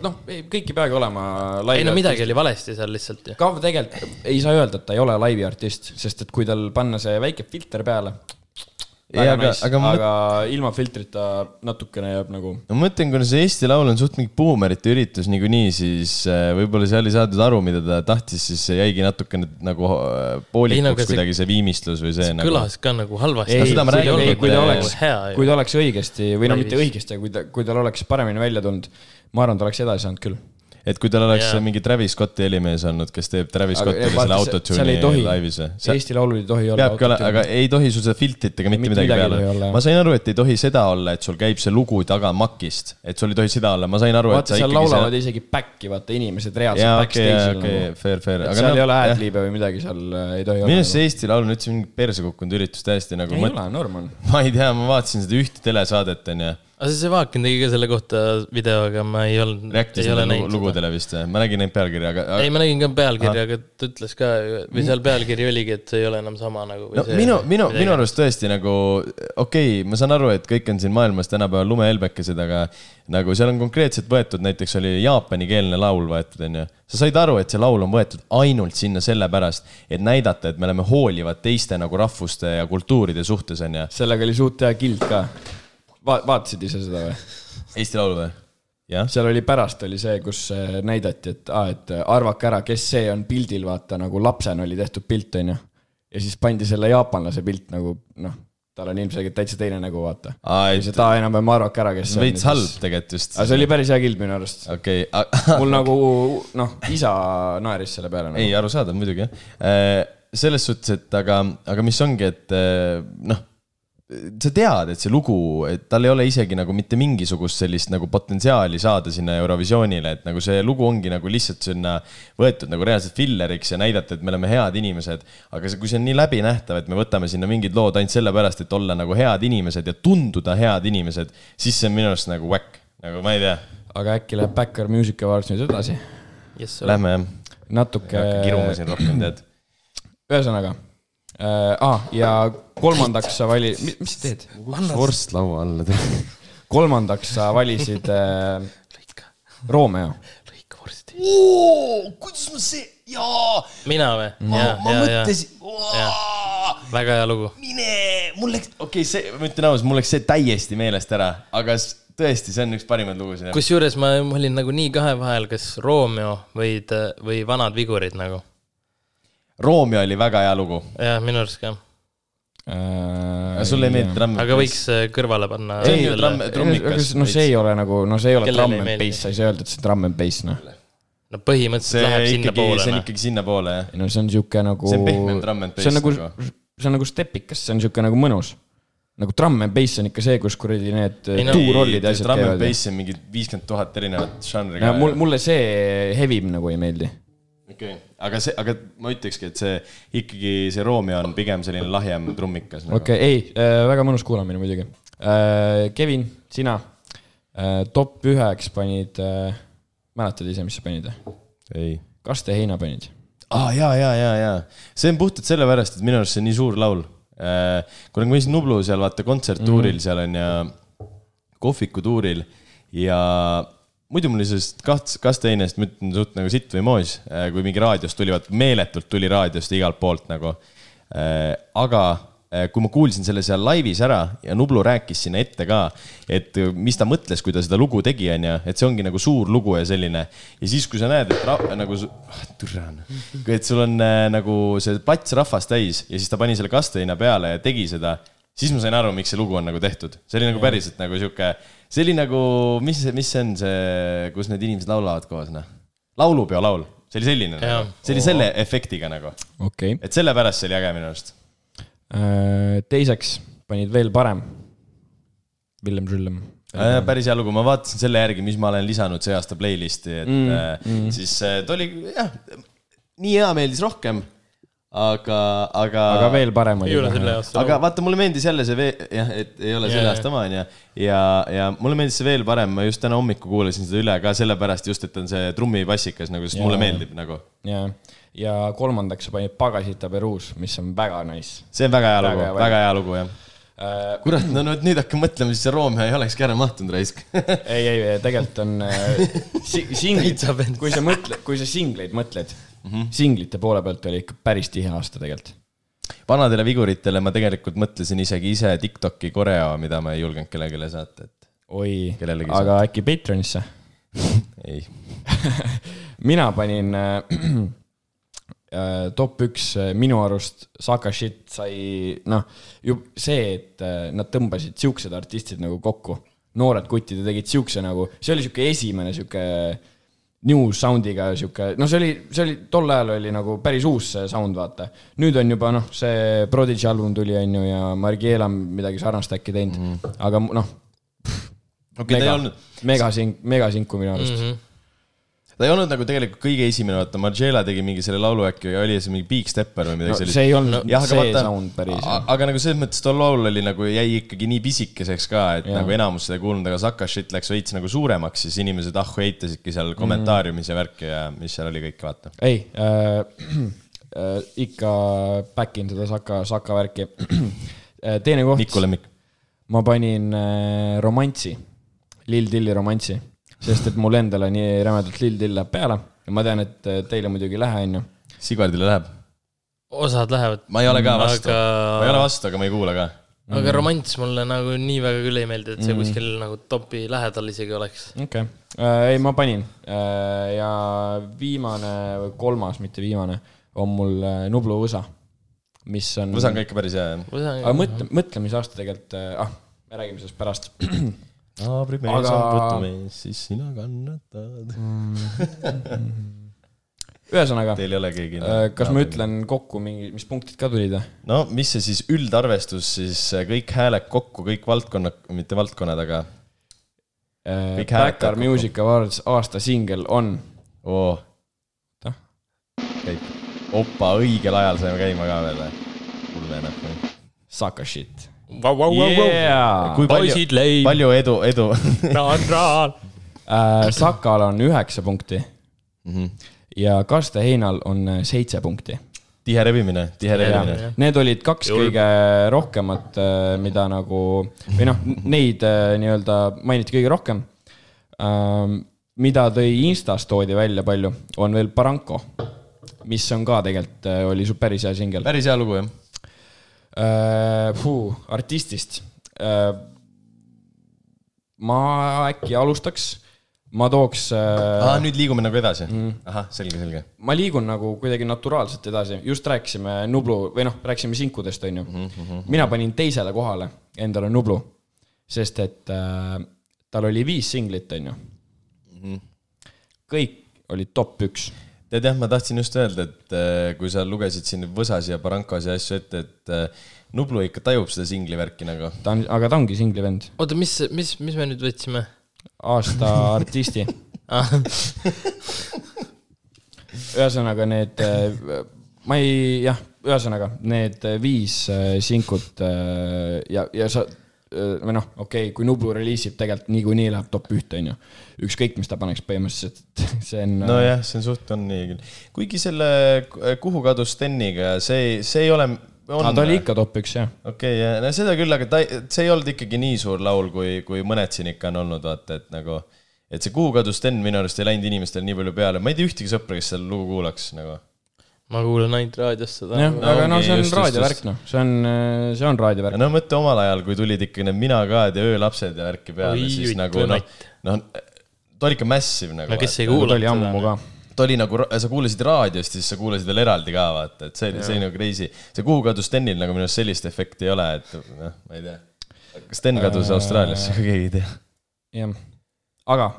noh , kõik ei peagi olema
ei
laivi
no . midagi oli valesti seal lihtsalt ju .
Kav tegelikult ei saa öelda , et ta ei ole laivi artist , sest et kui tal panna see väike filter peale ,
Ei,
väga
aga-
nice ,
aga
aga,
ma mõt-
aga ilma filtrita natukene jääb nagu
no ma mõtlen , kuna see Eesti Laul on suht mingi buumerite üritus niikuinii , siis äh, võib-olla seal ei saadud aru , mida ta tahtis , siis see jäigi natukene nagu äh, poolikuks
Ei, no
no,
aga see-
kuidagi see viimistlus või see nagu .
kõlas ka nagu halvasti .
ei ,
seda ma räägin,
ei , kui
nagu
ta
ta ei
oleks , kui ta oleks õigesti või no mitte
Laivis.
õigesti , aga kui ta , kui tal oleks paremini välja tulnud , ma arvan , ta oleks edasi saanud küll .
et kui tal oleks
Jaa.
mingi Travis Scotti helimees olnud , kes teeb Travis
eh,
Scottile selle
seal
autotune'i
ei tohi
laivis ,,
Eesti Laulul ei tohi olla
peabki olema , aga ei tohi sul seda filtrit ega mitte
Mitte
midagi
midagi ei
peale
tohi olla, . jah.
ma sain aru , et ei tohi seda olla , et sul käib see lugu taga makist , et sul ei tohi seda olla , ma sain aru , et
vaata ,
sa
seal
ikkagi
laulavad . isegi back'i , vaata inimesed
jaa ,
reaalselt
okei ,
backstage'il noh.
okei , fair , fair ,
et
aga noh,
seal ei ole
jah.
ad-libe või midagi seal äh, ei tohi
minu
olla .
arust see Eesti Laul on üldse mingi perse kukkunud üritus täiesti nagu ,
ei
ma
ole , norm on .
ma ei tea , ma vaatasin seda ühte telesaadet onju .
aga see Sevakin tegi ka selle kohta video , aga ma ei olnud ,
rääkis
ei ole
nendele
näinud seda .
lugudele vist , ma nägin neid pealkirja , aga,
ei ,
aga .
ma nägin ka pealkirja , aga ta ütles ka , või seal pealkiri oligi , et see ei ole enam sama nagu .
no minu , minu , minu . arust tõesti nagu okei okay, , ma saan aru , et kõik on siin maailmas tänapäeval lumehelbekesed , aga nagu seal on konkreetselt võetud , näiteks oli jaapanikeelne laul võetud , onju . sa said aru , et see laul on võetud ainult sinna sellepärast , et näidata , et me oleme hoolivad teiste nagu rahvuste ja kultuuride suhtes , onju .
sellega oli suht hea kild ka . Va- , vaatasid ise seda või ?
Eesti Laul või ? jah ,
seal oli pärast oli see , kus äh, näidati , et aa , et eh, arvake ära , kes see on pildil , vaata nagu lapsena oli tehtud pilt , onju . ja siis pandi selle jaapanlase pilt nagu noh , tal on ilmselgelt täitsa teine nägu , vaata .
Aa,
ja
et-
siis , et aa , enam-vähem arvake ära , kes see on .
veits halb . tegelikult just .
aga see oli päris hea kild minu arust .
okei okay. ,
mul nagu noh , isa naeris selle peale nagu. .
ei , arusaadav muidugi jah . selles suhtes , et aga , aga mis ongi , et eh, noh , sa tead , et see lugu , et tal ei ole isegi nagu mitte mingisugust sellist nagu potentsiaali saada sinna Eurovisioonile , et nagu see lugu ongi nagu lihtsalt sinna võetud nagu reaalselt filleriks ja näidata , et me oleme head inimesed . aga see , kui see on nii läbinähtav , et me võtame sinna mingid lood ainult sellepärast , et olla nagu head inimesed ja tunduda head inimesed , siis see on minu arust nagu whack , nagu ma ei tea ,
aga äkki läheb Backer Music Awards nüüd edasi ?
lähme jah ,
natuke .
kirume siin rohkem tead .
ühesõnaga äh, , ah, ja kolmandaks sa vali- , mis sa teed ?
vorst laua alla tead
kolmandaks sa valisid äh,
lõika ,
Romeo .
lõika vorsti .
oo , kuidas ma see , jaa ,
mina või ?
ma,
jaa ,
ma
jaa , jaa ,
mõtlesin ,
väga hea lugu .
mine , mul läks , okei okay, , see , ma ütlen ausalt , mul läks see täiesti meelest ära , aga s- tõesti , see on üks parimaid lugusid .
kusjuures ma ma olin nagu nii kahe vahel , kas Romeo või , või Vanad vigurid nagu .
Romeo oli väga hea lugu ,
jah , minu arust ka .
Äh,
aga sulle ei meeldi tramm ?
aga võiks äh, kõrvale panna . äh,
See on ju tramm- trummikas
trummikas . no see ei ole nagu , no see ei ole
Kellele
tramm
ei
and
meeldi?
bass , sa ei saa öelda , et see on tramm and bass , noh .
no
see
põhimõtteliselt läheb
ikkagi , see on
sinnapoole . noh.
ikkagi sinnapoole , jah .
ei no see on sihuke nagu .
See on pehmem tramm and
see on
bass
nagu
nagu. ,
see on nagu stepikas , see on sihuke nagu mõnus . nagu tramm and bass on ikka see , kus kuradi need
Ei no-
tuurollid ja asjad
tramm and
käivad .
bass on mingi viiskümmend tuhat erinevat žanri
ja mul ,
ka .
mulle see hevim nagu ei meeldi .
okei , aga see , aga ma ütlekski , et see ikkagi see Romeo on pigem selline lahjem trummikas nagu. .
okei , ei äh, , väga mõnus kuulamine muidugi äh, . Kevin , sina äh, top üheks panid äh, mäletad ise , mis sa panid või ?
ei .
kaste heina panid .
aa ah, , ja , ja , ja , ja see on puhtalt sellepärast , et minu arust see on nii suur laul . kuna ma käisin Nublu seal vaata kontserttuuril mm. seal on ja kohvikutuuril ja muidu mul oli sellest kaht- , kasteinest , ma ütlen suht nagu sitt või moos , kui mingi raadiost tuli , vaat meeletult tuli raadiost ja igalt poolt nagu . aga eh, kui ma kuulsin selle seal laivis ära ja Nublu rääkis sinna ette ka , et mis ta mõtles , kui ta seda lugu tegi , onju , et see ongi nagu suur lugu ja selline . ja siis , kui sa näed , et ra, nagu su- ah, türa on , et sul on eh, nagu see pats rahvast täis ja siis ta pani selle kasteina peale ja tegi seda siis ma sain aru , miks see lugu on nagu tehtud , see oli nagu päriselt nagu sihuke , see oli nagu , mis , mis see on see , kus need inimesed laulavad koos , noh . laulupeo laul , see oli selline ,
Jaa.
see oli selle efektiga nagu ,
okei okay. .
et sellepärast see oli äge minu arust .
Äh, teiseks panid veel parem . Villem Žüllem .
Äh, päris hea lugu , ma vaatasin selle järgi , mis ma olen lisanud see aasta playlist'i , et mm, mm. siis eh, ta oli jah , nii hea meeldis rohkem , aga , aga .
aga veel parem
ei
oli
ole . selle aasta .
aga vaata , mulle meeldis jälle see vee- , jah , et ei ole selle
Jaa.
aasta oma , onju . ja , ja mulle meeldis see veel parem , ma just täna hommikul kuulasin seda üle ka sellepärast just , et on see trummipassikas nagu , sest
Jaa.
mulle meeldib nagu .
ja , ja kolmandaks sa panid Pagasita Peruus , mis on väga nice .
see on väga hea
Väga
lugu
hea ,
väga hea lugu , jah .
Äh,
kurat , no vot nüüd hakkan mõtlema , siis see Roomea ei olekski ära mahtunud raisk .
ei , ei , tegelikult on äh, si- singlid
Täitsa pens- ,
kui sa mõtled , kui sa singleid mõtled mm , -hmm. singlite poole pealt oli ikka päris tihe aasta tegelikult .
vanadele viguritele ma tegelikult mõtlesin isegi ise Tiktoki koreo , mida ma ei julgenud kellelegi saata , et
oi ,
Kellelegi
aga äkki Patreonisse ?
ei .
mina panin äh, äh, top üks äh, minu arust Saka Shit sai , noh , ju see , et äh, nad tõmbasid siuksed artistid nagu kokku . noored kutid ja tegid siukse nagu , see oli siuke esimene siuke new sound'iga siuke , no see oli , see oli , tol ajal oli nagu päris uus see sound , vaata . nüüd on juba noh , see Prodigy album tuli , on ju , ja Margiela on midagi sarnast äkki teinud mm , -hmm. aga mu- noh ,
okei , ta ei
mega
olnud ,,
megasink , megasinku minu arust
Mhm.
mm .
ta ei olnud nagu tegelikult kõige esimene , vaata , Margiela tegi mingi selle laulu äkki , oli see mingi Big Stepper või midagi
-hmm.
sellist
no, see ei olnud
jah ,
no,
aga
see
vaata
sound , päris .
aga nagu selles mõttes tol laul oli nagu jäi ikkagi nii pisikeseks ka , et ja. nagu enamus seda ei kuulnud , aga Saka shit läks veits nagu suuremaks , siis inimesed ahhu heitasidki seal kommentaariumis ja värki ja mis seal oli kõik , vaata .
ei äh, , äh, ikka back in seda Saka , Saka värki . teine koht
Miku , lemmik .
ma panin äh, romantsi , Lil Dilli romantsi , sest et mul endal on nii rämedalt Lil Dill läheb peale ja ma tean , et äh, teile muidugi ei lähe , onju .
Sigardile läheb .
osad lähevad .
ma ei ole ka vastu aga... , ma ei ole
aga ,
vastu , aga ma ei kuula ka . Mhm.
aga romanss mulle nagu nii väga küll ei meeldi , et see kuskil nagu topi lähedal isegi oleks .
okei okay. äh, , ei ma panin äh, ja viimane või kolmas , mitte viimane , on mul äh, Nublu USA , mis on .
Võsa on ka ikka päris hea .
aga mõtle , mõtle , mis aasta tegelikult äh, , ah , me räägime sellest pärast
naabrimees
Aga-
aga... on võtumees , siis sina kannatad .
Mm. ühesõnaga ,
Teil ei ole keegi .
Äh, kas ma ? ütlen kokku mingi , mis punktid ka tulid eh? või ?
no mis see siis üldarvestus siis , kõik hääled kokku , kõik valdkonnad , mitte valdkonnad , aga Kõik hääled
Backar
kokku.
Äh, Music Awards aasta singel on .
oo oh. . käib . opa , õigel ajal saime käima ka veel . äh, hull ennast .
Saka shit .
kui palju ,
poisid leib ,
palju edu , edu
raan-raan .
Äh, Sakal on üheksa punkti
Mhm.
ja Kaste Heinal on äh, seitse punkti .
tihe rebimine , tihe rebimine .
Need olid kaks Julm. kõige rohkemat , mida nagu või noh , neid äh, nii-öelda mainiti kõige rohkem . mida tõi Instas toodi välja palju , on veel Barranco , mis on ka tegelikult äh, oli su päris hea singel .
päris hea lugu jah .
Äh, Puu, artistist . ma äkki alustaks , ma tooks , äh,
aa , nüüd liigume nagu edasi . ahah , selge , selge .
ma liigun nagu kuidagi naturaalselt edasi , just rääkisime Nublu või noh , rääkisime sinkudest , onju . mina panin teisele kohale endale Nublu , sest et äh, tal oli viis singlit , onju . kõik olid top üks
tead jah , ma tahtsin just öelda , et eh, kui sa lugesid siin Võsas ja Barrancos ja asju ette , et eh, Nublu ikka tajub seda singli värki nagu .
ta on , aga ta ongi singli vend ,
oota , mis , mis , mis me nüüd võtsime ?
aasta artisti ühesõnaga need , ma ei , jah , ühesõnaga need äh, viis äh, sinkut äh, ja , ja sa äh, või noh , okei okay, , kui Nublu reliisib , tegelikult niikuinii läheb top ühte , onju . ükskõik , mis ta paneks põhimõtteliselt , see on no, ,
nojah , see on suht on nii küll . kuigi selle , kuhu kadus Steniga , see , see ei ole .
äh, aga ta oli ikka top üks , jah .
okei okay, , no seda küll , aga ta , see ei olnud ikkagi nii suur laul , kui , kui mõned siin ikka on olnud , vaata , et nagu , et see Kuhu kadus Sten minu arust ei läinud inimestele nii palju peale , ma ei tea ühtegi sõpra , kes seda lugu kuulaks nagu .
ma kuulan ainult raadiost seda .
jah , aga no
ongi,
see on
just, just,
raadiovärk
just. ,
noh , see on , see on raadiovärk .
no mõtle omal ajal , kui tulid ikka need Mina ka ja Öölapsed ja värki peale ,
Oi,
siis
oi,
nagu noh , noh , ta oli ikka massive nagu .
no kes ei
ta
kuula
oli ammu
seda .
ka .
ta oli nagu , sa kuulasid raadiost ja siis sa kuulasid veel eraldi ka vaata , et see oli , see oli nagu crazy . see Kuhu kadus Stenil nagu minu arust sellist efekti ei ole , et noh , ma ei tea . kas Sten kadus Austraaliasse , keegi ei tea .
jah , aga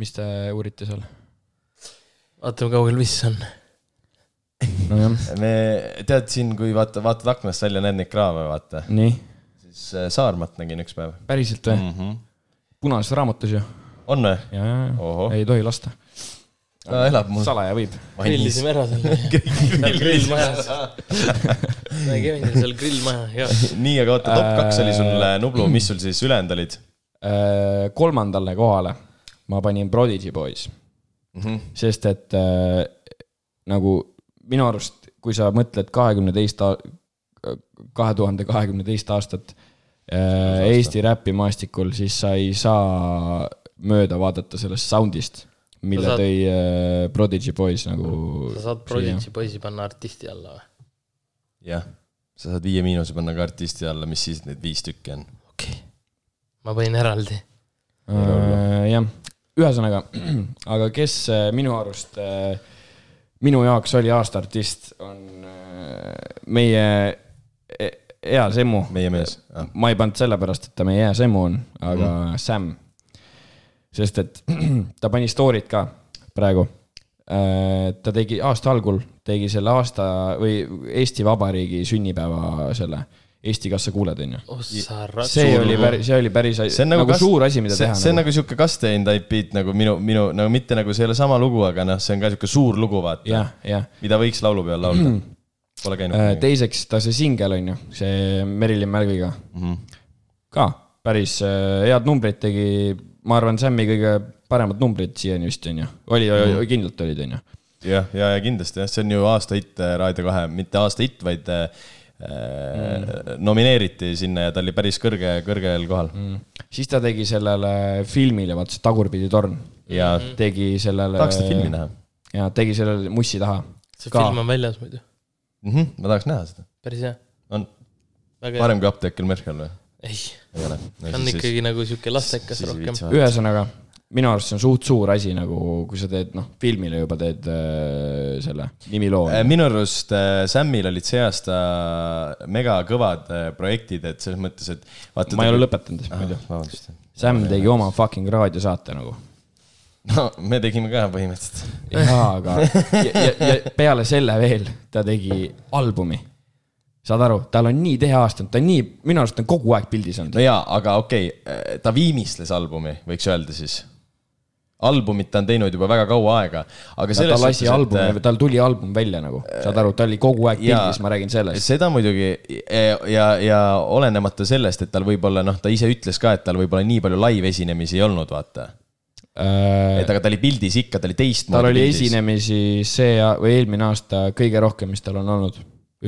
mis te uurite seal ?
vaatame , kaugel viss on .
nojah ,
me , tead siin , kui vaata , vaatad aknast välja , näed neid kraave , vaata ,
nii ,
siis äh, Saarmat nägin üks päev
päriselt või ?
mm . -hmm.
punases raamatus ju .
on või ?
ja , ja , ja
Ohoh. ,
ei tohi lasta .
ta elab mul
salaja võib .
vannis .
grillisime ära selle . grill majas . me käime seal grill maja , ja .
nii , aga oota , top kaks oli sul
Äh,
Nublu , mis sul siis ülejäänud olid ?
kolmandale kohale ma panin Prodigy Boys mm ,
Mhm.
-hmm. sest et äh, nagu minu arust , kui sa mõtled kahekümne teist , kahe tuhande kahekümne teist aastat äh, Eesti räpimaastikul , siis sa ei saa mööda vaadata sellest sound'ist , mille
Sa
saad...
saad-
tõi äh, Prodigy Boys nagu .
sa saad Prodigy poisi panna artisti alla või ?
jah , sa saad Viie Miinuse panna ka artisti alla , mis siis et neid viis tükki on .
okei okay. . ma panin eraldi .
Äh, jah , ühesõnaga , aga kes äh, minu arust , minu jaoks oli aasta artist , on äh, meie e- eas emu .
Meie mees. Ah.
ma ei pannud sellepärast , et ta meie eas emu on , aga mm. Sam . sest et ta pani story'd ka praegu . ta tegi aasta algul , tegi selle aasta või Eesti Vabariigi sünnipäeva selle Eesti Kassa kuuled , onju .
ossa rat- .
see oli päris , see oli päris ,
see on
nagu,
nagu,
nagu suur asi , mida
see,
teha .
see on nagu sihuke Kastein type beat nagu minu , minu nagu mitte nagu see ei ole sama lugu , aga noh , see on ka sihuke suur lugu , vaata
jah , Mm. Äh, jah .
mida võiks laulupeol laulda . Pole käinud .
teiseks ta see singel on ju , see Merilin Mälviga mm .
Mhm.
-hmm. ka päris äh, head numbrid tegi , ma arvan , Sam'i kõige paremad numbrid siiani vist on ju , oli, oli ,
Mhm.
oli , kindlalt olid on ju .
jah , ja , ja kindlasti jah , see on ju aasta hitt äh, Raadio kahe , mitte aasta hitt , vaid äh, mm. nomineeriti sinna ja ta oli päris kõrge , kõrgel kohal mm. .
siis ta tegi sellele filmile , vaata see Tagurpidi torn .
ja
Mhm.
tegi sellele .
tahaks seda filmi näha mm .
ja tegi sellele Mussi taha .
see film on väljas muidu ,
-hmm, ma tahaks näha seda .
päris hea .
on
väga hea .
parem kui Apteekel Merkel või ?
ei ,
ei ole .
ta on ikkagi nagu sihuke lastekas rohkem .
ühesõnaga , minu arust see on suht suur asi nagu , kui sa teed , noh , filmile juba teed äh, selle nimiloo .
Äh, minu arust äh, Samil olid see aasta megakõvad äh, projektid , et selles mõttes , et vaata .
ma ei ole lõpetanud , muidu .
vabandust .
Sam tegi oma fucking raadiosaate nagu .
no me tegime ka põhimõtteliselt .
jaa , aga ja, ja, ja peale selle veel ta tegi albumi . saad aru , tal on nii tihe aasta , ta on nii , minu arust on kogu aeg pildis olnud
no . jaa , aga okei okay, , ta viimistles albumi , võiks öelda siis . albumit ta on teinud juba väga kaua aega , aga
ta
selles äh,
lasi albumi , tal tuli album välja nagu , saad aru , ta oli kogu aeg
jaa.
pildis , ma räägin sellest .
seda muidugi ja , ja, ja olenemata sellest , et tal võib-olla noh , ta ise ütles ka , et tal võib-olla nii palju live esinemisi ei olnud , vaata . et
tal
aga ta oli pildis ikka , ta oli teistmoodi .
Äh, oli . esinemisi see a- või eelmine aasta kõige rohkem , mis tal on olnud ,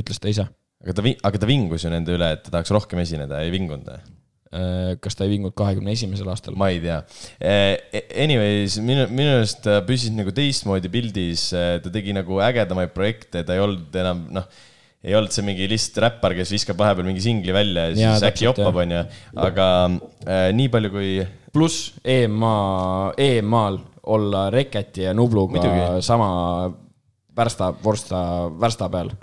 ütles ta ise .
aga ta , aga ta vingus ju nende üle , et ta tahaks rohkem esineda , ei vingunud või ?
Äh, kas ta ei vingunud kahekümne esimesel aastal ?
ma ei tea . Anyways , minu , minu arust ta püsis nagu teistmoodi pildis , ta tegi nagu ägedamaid projekte , ta ei olnud enam noh , ei olnud see mingi lihtsalt räppar , kes viskab vahepeal mingi singli välja ja siis
Jaa,
ja, äkki
täpselt,
joppab ,
jah.
onju . aga äh, nii palju kui ,
pluss EMA , EMA-l olla Reketi ja Nubluga
Muidugi.
Muidugi. sama värsta , vorsta , värsta peal .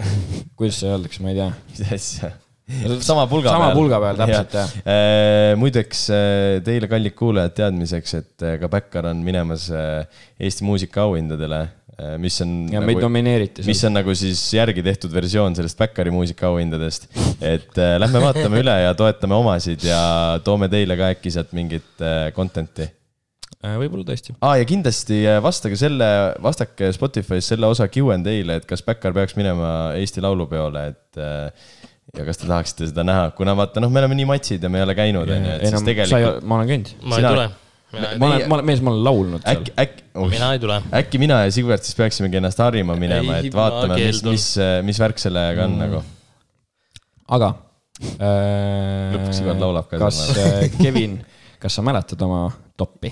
kuidas seda öeldakse , ma ei tea .
mis asja , sama pulga
Sama
peal .
pulga peal, täpselt, jah.
jah . muideks äh, teile , kallid kuulajad , teadmiseks , et äh, ka Bäkkar on minemas äh, Eesti muusikaauhindadele , mis on .
ja meid domineeriti
Nagu mis
seal .
on nagu siis järgi tehtud versioon sellest Bäkkari muusikaauhindadest . et äh, lähme vaatame üle ja toetame omasid ja toome teile ka äkki sealt mingit äh, content'i .
Äh, võib-olla tõesti .
aa , ja kindlasti äh, vastage selle , vastake Spotify's selle osa Q and A-le , et kas Bäkkar peaks minema Eesti Laulupeole , et äh, ja kas te tahaksite seda näha , kuna vaata noh , me oleme nii matsid ja me ei ole käinud ,
Äh,
onju , et siis tegelikult
ma olen käinud .
ma ei
Sina-
tule .
ma olen , ma olen , mees , ma olen laulnud seal
äkki , äkki
mina
oh, ,
ei tule .
äkki mina ja Sigvart siis peaksimegi ennast harima minema , et
ma
vaatame , mis ,
keeldun.
mis , mis värk sellega on nagu .
aga
Lõpuks
äh,
Ivar laulab ka
kas
selle
äh, Kevin , kas sa mäletad oma toppi ?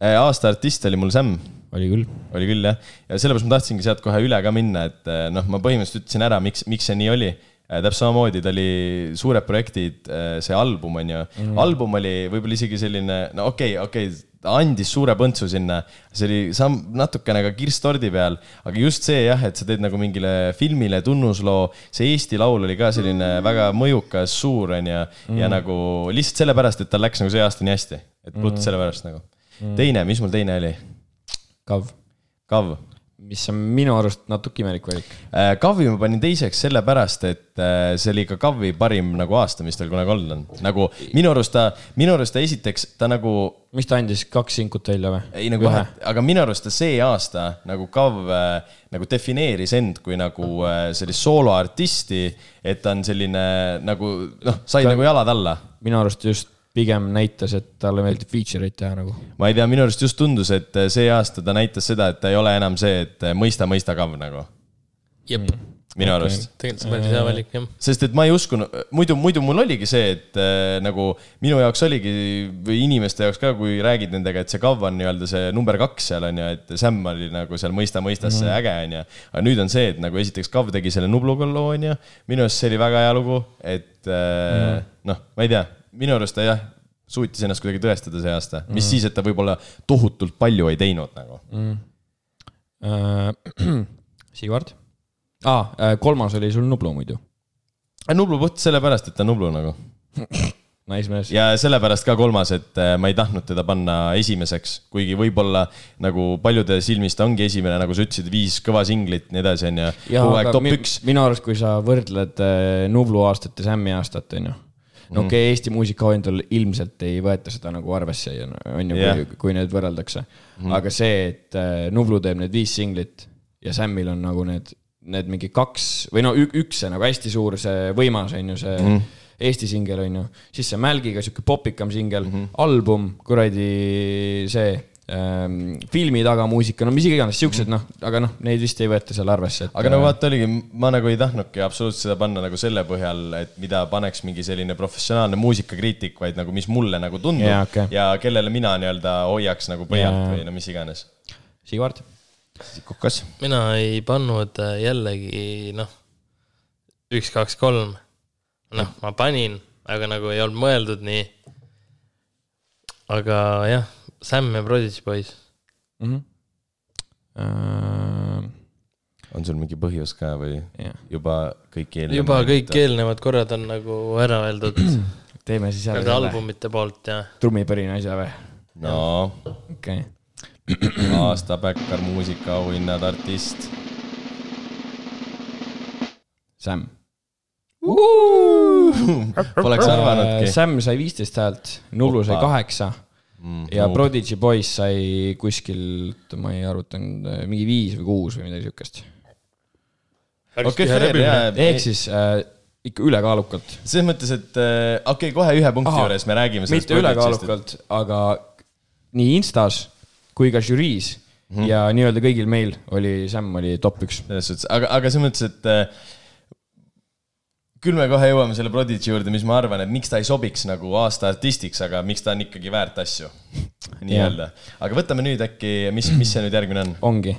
Äh, aasta artist oli mul Sam ,
oli küll .
oli küll jah , ja sellepärast ma tahtsingi sealt kohe üle ka minna , et eh, noh , ma põhimõtteliselt ütlesin ära , miks , miks see nii oli . täpselt samamoodi , ta oli suured projektid , see album on ju mm. , album oli võib-olla isegi selline , no okei okay, , okei okay, , ta andis suure põntsu sinna , see oli samm natukene ka kirstordi peal , aga just see jah , et sa teed nagu mingile filmile tunnusloo , see Eesti Laul oli ka selline väga mõjukas , suur on ju , ja nagu lihtsalt sellepärast , et tal läks nagu see aasta nii hästi , et puht sellepärast nagu mm. . teine , mis mul teine oli ?
Kav ,
Kav
mis on minu arust natuke imelik valik .
Äh, Kavvi ma panin teiseks sellepärast , et äh, see oli ka Kavvi parim nagu aasta , mis tal kunagi olnud on . nagu minu arust ta , minu arust ta esiteks , ta nagu
mis ta andis , kaks sinkut välja või ?
ei nagu , aga minu arust ta see aasta nagu Kav äh, nagu defineeris end kui nagu äh, sellist sooloartisti , et ta on selline nagu noh , sai ta... nagu jalad alla
minu arust just pigem näitas , et talle meeldib feature eid teha nagu .
ma ei tea , minu arust just tundus , et äh, see aasta ta näitas seda , et ta ei ole enam see , et äh, mõista , mõista kav nagu ,
jep ,
Mm. minu okay. arust .
tegelikult see on
Äh.
päris hea valik jah .
sest et ma ei uskunud , muidu , muidu mul oligi see , et äh, nagu minu jaoks oligi või inimeste jaoks ka , kui räägid nendega , et see KAV on nii-öelda see number kaks seal on ju , et Sam oli nagu seal mõista mõistas see äge on ju . aga nüüd on see , et nagu esiteks KAV tegi selle Nubluga loo on ju , minu arust see oli väga hea lugu , et äh, noh , ma ei tea , minu arust ta jah , suutis ennast kuidagi tõestada see aasta , mis siis , et ta võib-olla tohutult palju ei teinud nagu .
Äh, Sigvard ah, ? kolmas oli sul Nublu muidu .
Nublu puht sellepärast , et ta on Nublu nagu
naismees .
ja sellepärast ka kolmas , et äh, ma ei tahtnud teda panna esimeseks , kuigi võib-olla nagu paljude silmis ta ongi esimene , nagu sa ütlesid , viis kõva singlit , nii edasi , onju . kogu aeg top üks .
minu arust , kui sa võrdled äh, Nublu aastat ja Sämmi aastat , onju . no
Mhm.
okei okay, , Eesti muusikahoidjal ilmselt ei võeta seda nagu arvesse , onju ,
Jah.
kui, kui need võrreldakse mm .
Mhm.
-hmm. aga see , et äh, Nublu teeb need viis singlit ja Sämmil on nagu need , need mingi kaks või no ük, üks see nagu hästi suur , see võimas , onju , see mm
Mhm.
-hmm. Eesti singel , onju . siis see Mälgiga sihuke popikam singel
Mhm.
mm , -hmm. album , kuradi see ähm, filmi taga muusika , no mis iganes , siuksed noh , aga noh , neid vist ei võeta seal arvesse , et .
Mhm.
äh,
aga no vaata oligi , ma nagu ei tahtnudki absoluutselt seda panna nagu selle põhjal , et mida paneks mingi selline professionaalne muusikakriitik , vaid nagu mis mulle nagu tundub
Jaa, okei.
ja kellele mina nii-öelda hoiaks nagu põhjalt
Jaa.
või no mis iganes .
Sigvard .
kukas .
mina ei pannud äh, jällegi noh , üks , kaks , kolm . noh , ma panin , aga nagu ei olnud mõeldud nii . aga jah , Sam ja Prodigy Boys ,
Äh,
on sul mingi põhjus ka või
Jah.
juba kõik eelnevad ?
juba kõik . eelnevad korrad on nagu ära öeldud
teeme siis
nende
ära selle
albumite poolt ja
trummipõrina asja või ?
no
okei okay. .
aasta Bäkkar muusikaauhinnad , artist .
Sam .
Poleks arvanudki .
Äh, Sam sai viisteist häält , Nublu sai
Opa. Mm,
kaheksa ja Prodigy Boys sai kuskilt , ma ei arvutanud , mingi viis või kuus või midagi siukest .
okei , fair , jaa
ehk . siis äh, ikka ülekaalukalt .
selles mõttes , et äh, okei okay, , kohe ühe punkti
Ahah,
juures me räägime sellest .
mitte ülekaalukalt , aga nii Instas kui ka žüriis mm
Mhm.
-hmm. ja nii-öelda kõigil meil oli , Sam oli top üks .
selles suhtes , aga , aga selles mõttes , et äh, küll me kohe jõuame selle Prodigy juurde , mis ma arvan , et miks ta ei sobiks nagu aasta artistiks , aga miks ta on ikkagi väärt asju . nii-öelda , aga võtame nüüd äkki , mis , mis see nüüd järgmine on
ongi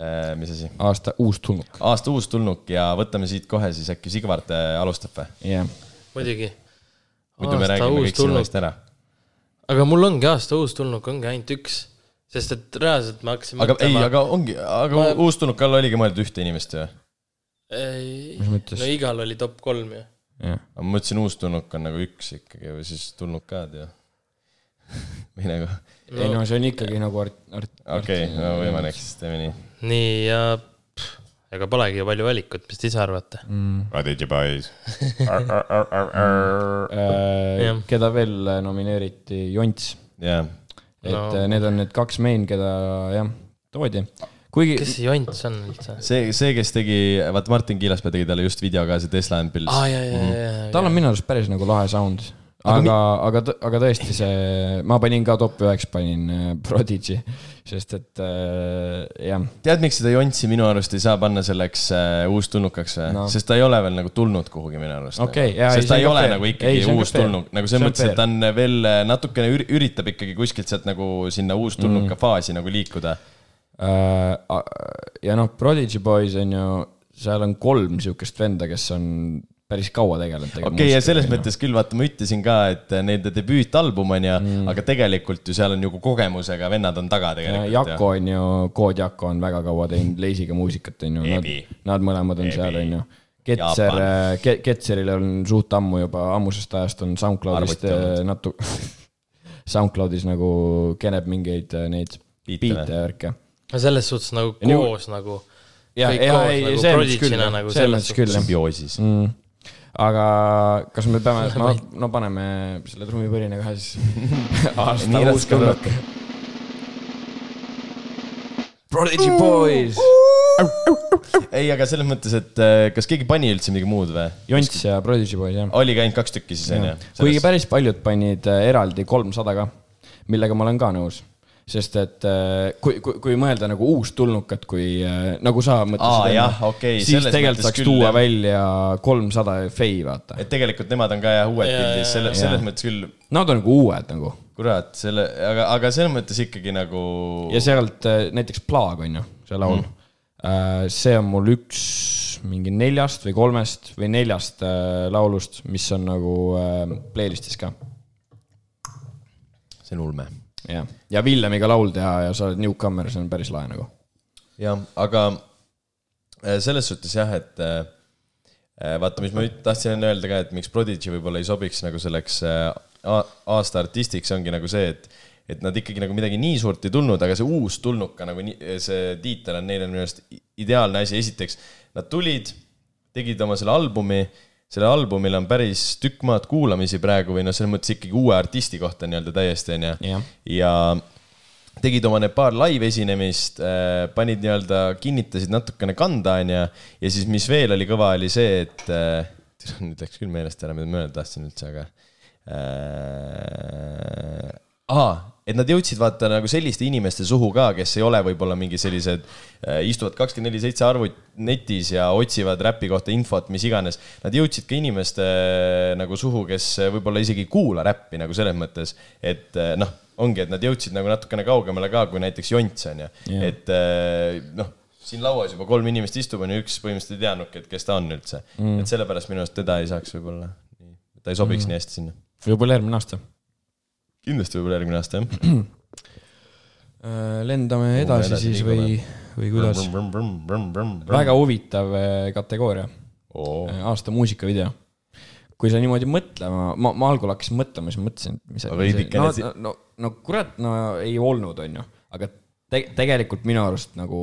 äh, , mis asi ?
aasta uustulnuk .
aasta uustulnuk ja võtame siit kohe siis äkki Sigvard äh, alustab või ?
jah yeah.
muidugi .
muidu me
aasta
räägime
uus
kõik sinu
tulnuk
eest ära .
aga mul ongi aasta uus tulnuk , ongi ainult üks , sest et reaalselt ma hakkasin
aga ei ,
mõtlema ,
aga ongi , aga ma... uustulnuka all oligi mõeldud ühte inimest ju .
ei,
Mis mõttes?
no igal oli top kolm ju .
jah ,
ma mõtlesin , uustulnuk on nagu üks ikkagi või siis tulnukad ju . või nagu ,
ei no see on ikkagi nagu art- , art- ,
okei okay, , no võimalik , siis teeme nii .
nii ja pff, ega polegi ju palju valikut , mis te ise arvate mm. ?
Prodigy Boys .
äh,
Jah.
keda veel nomineeriti , Jonts .
jaa ,
et äh,
No.
no. need on need kaks main , keda jah , toodi . kuigi
kes see jont see on üldse ?
see , see , kes tegi , vaata Martin Kiilaspea tegi talle just video ka , see Tesla Ampil .
aa , ja , ja , ja , ja ,
tal on minu arust päris nagu lahe sound . aga , aga , aga tõesti see , ma panin ka top üheks , panin äh, Prodigy , sest et äh, jah ,
tead , miks seda Jontsi minu arust ei saa panna selleks äh, uustulnukaks või no.
No. ?
sest ta ei ole veel nagu tulnud kuhugi minu arust .
Okei, jaa, ei,
sest
see
ta
on
ei
ka
ole
fair.
nagu
Ei,
ikkagi
see on ka
uustulnuk ,
fair.
nagu
See
selles
on
mõttes , et
fair.
ta on veel äh, natukene üri- üritab ikkagi kuskilt sealt nagu sinna uustulnuka mm. faasi nagu liikuda .
äh, . ja noh , Prodigy Boys on ju , seal on kolm sihukest venda , kes on päris kaua tegelenud .
okei okay, , ja selles . mõttes küll vaata , ma ütlesin ka , et äh, nende debüütalbum on ju mm. , aga tegelikult ju seal on ju kogemusega vennad on taga tegelikult .
Jako Äh, on ju , Kood Jako on väga kaua teinud Leisiga muusikat , on ju , nad
Ebi. ,
nad mõlemad on Ebi. seal , on ju . Ketser äh,
Jaapan. ,
Ketseril on suht ammu juba , ammusest ajast on SoundCloudist
Arvuti olnud.
natuke , SoundCloudis nagu keneb mingeid äh, neid
Biite
biite
või?
ja värke .
selles suhtes nagu
Ja nii-
koos nagu . nagu
ja , ja ei , selles mõttes küll , selles mõttes küll , jah .
sümbioosis mm. .
mm. . aga kas me peame , no, no paneme selle trummipõrina kohe siis . aasta
Nii
uus
raske
tulnuk . Prodigy Boys ,
ei , aga selles mõttes , et äh, kas keegi pani üldse midagi muud või ?
Jonts ja Prodigy Boys jah .
oligi ainult kaks tükki siis on ju ?
kuigi päris paljud panid äh, eraldi kolmsada ka , millega ma olen ka nõus sest et äh, kui , kui , kui mõelda nagu uustulnukat , kui äh, nagu sa
Aa,
mõtlesid noh,
jah, okei,
siis
selles
tegelikult
mõttes
saaks
küll,
tuua
jah.
välja kolmsada fei , vaata .
et tegelikult nemad on ka jah uued
Jaa,
pildis , selle ,
jaa,
selles
jaa.
mõttes küll ,
Nad on nagu uued nagu
kurat , selle , aga , aga selles mõttes ikkagi nagu
ja sealt äh, näiteks Plaag on ju , see laul mm. . see on mul üks mingi neljast või kolmest või neljast äh, laulust , mis on nagu äh, playlist'is ka .
see on ulme .
jah , ja Villemiga laul teha ja sa oled newcomer , see on päris lahe nagu .
jah , aga äh, selles suhtes jah , et äh, äh, vaata , mis ma üt- tahtsin enne öelda ka , et miks Prodigy võib-olla ei sobiks nagu selleks äh, a- aasta artistiks , ongi nagu see , et et nad ikkagi nagu midagi nii suurt ei tulnud , aga see uus tulnuka nagu nii, see tiitel on neile minu arust i- ideaalne asi , esiteks nad tulid , tegid oma selle albumi , sellel albumil on päris tükk maad kuulamisi praegu või noh , selles mõttes ikkagi uue artisti kohta nii-öelda täiesti onju
Jah. .
ja tegid oma need paar live esinemist , panid nii-öelda , kinnitasid natukene kanda onju ja siis , mis veel oli kõva , oli see , et äh, nüüd läks küll meelest ära , mida ma öelda tahtsin üldse , aga äh, . aa , et nad jõudsid vaata nagu selliste inimeste suhu ka , kes ei ole võib-olla mingi sellised , istuvad kakskümmend neli seitse arvut- netis ja otsivad räpi kohta infot , mis iganes . Nad jõudsid ka inimeste nagu suhu , kes võib-olla isegi ei kuula räppi nagu selles mõttes , et äh, noh , ongi , et nad jõudsid nagu natukene kaugemale ka kui näiteks Jonts on ju , et äh, noh siin lauas juba kolm inimest istub , on ju , üks põhimõtteliselt ei teadnudki , et kes ta on üldse mm. . et sellepärast minu arust teda ei saaks võib-olla , ta ei sobiks mm. nii hästi sinna .
võib-olla järgmine aasta .
kindlasti võib-olla järgmine aasta jah .
Äh, lendame edasi
edasi
siis
liigume.
või , või kuidas ? väga huvitav äh, kategooria
Oo.
Äh, aasta muusikavideo . kui sa niimoodi mõtlema , ma , ma algul hakkasin mõtlema , siis mõtlesin , et mis .
Veidikene
no,
si-
no, no , no kurat , no ei olnud , on ju , aga te, tegelikult minu arust nagu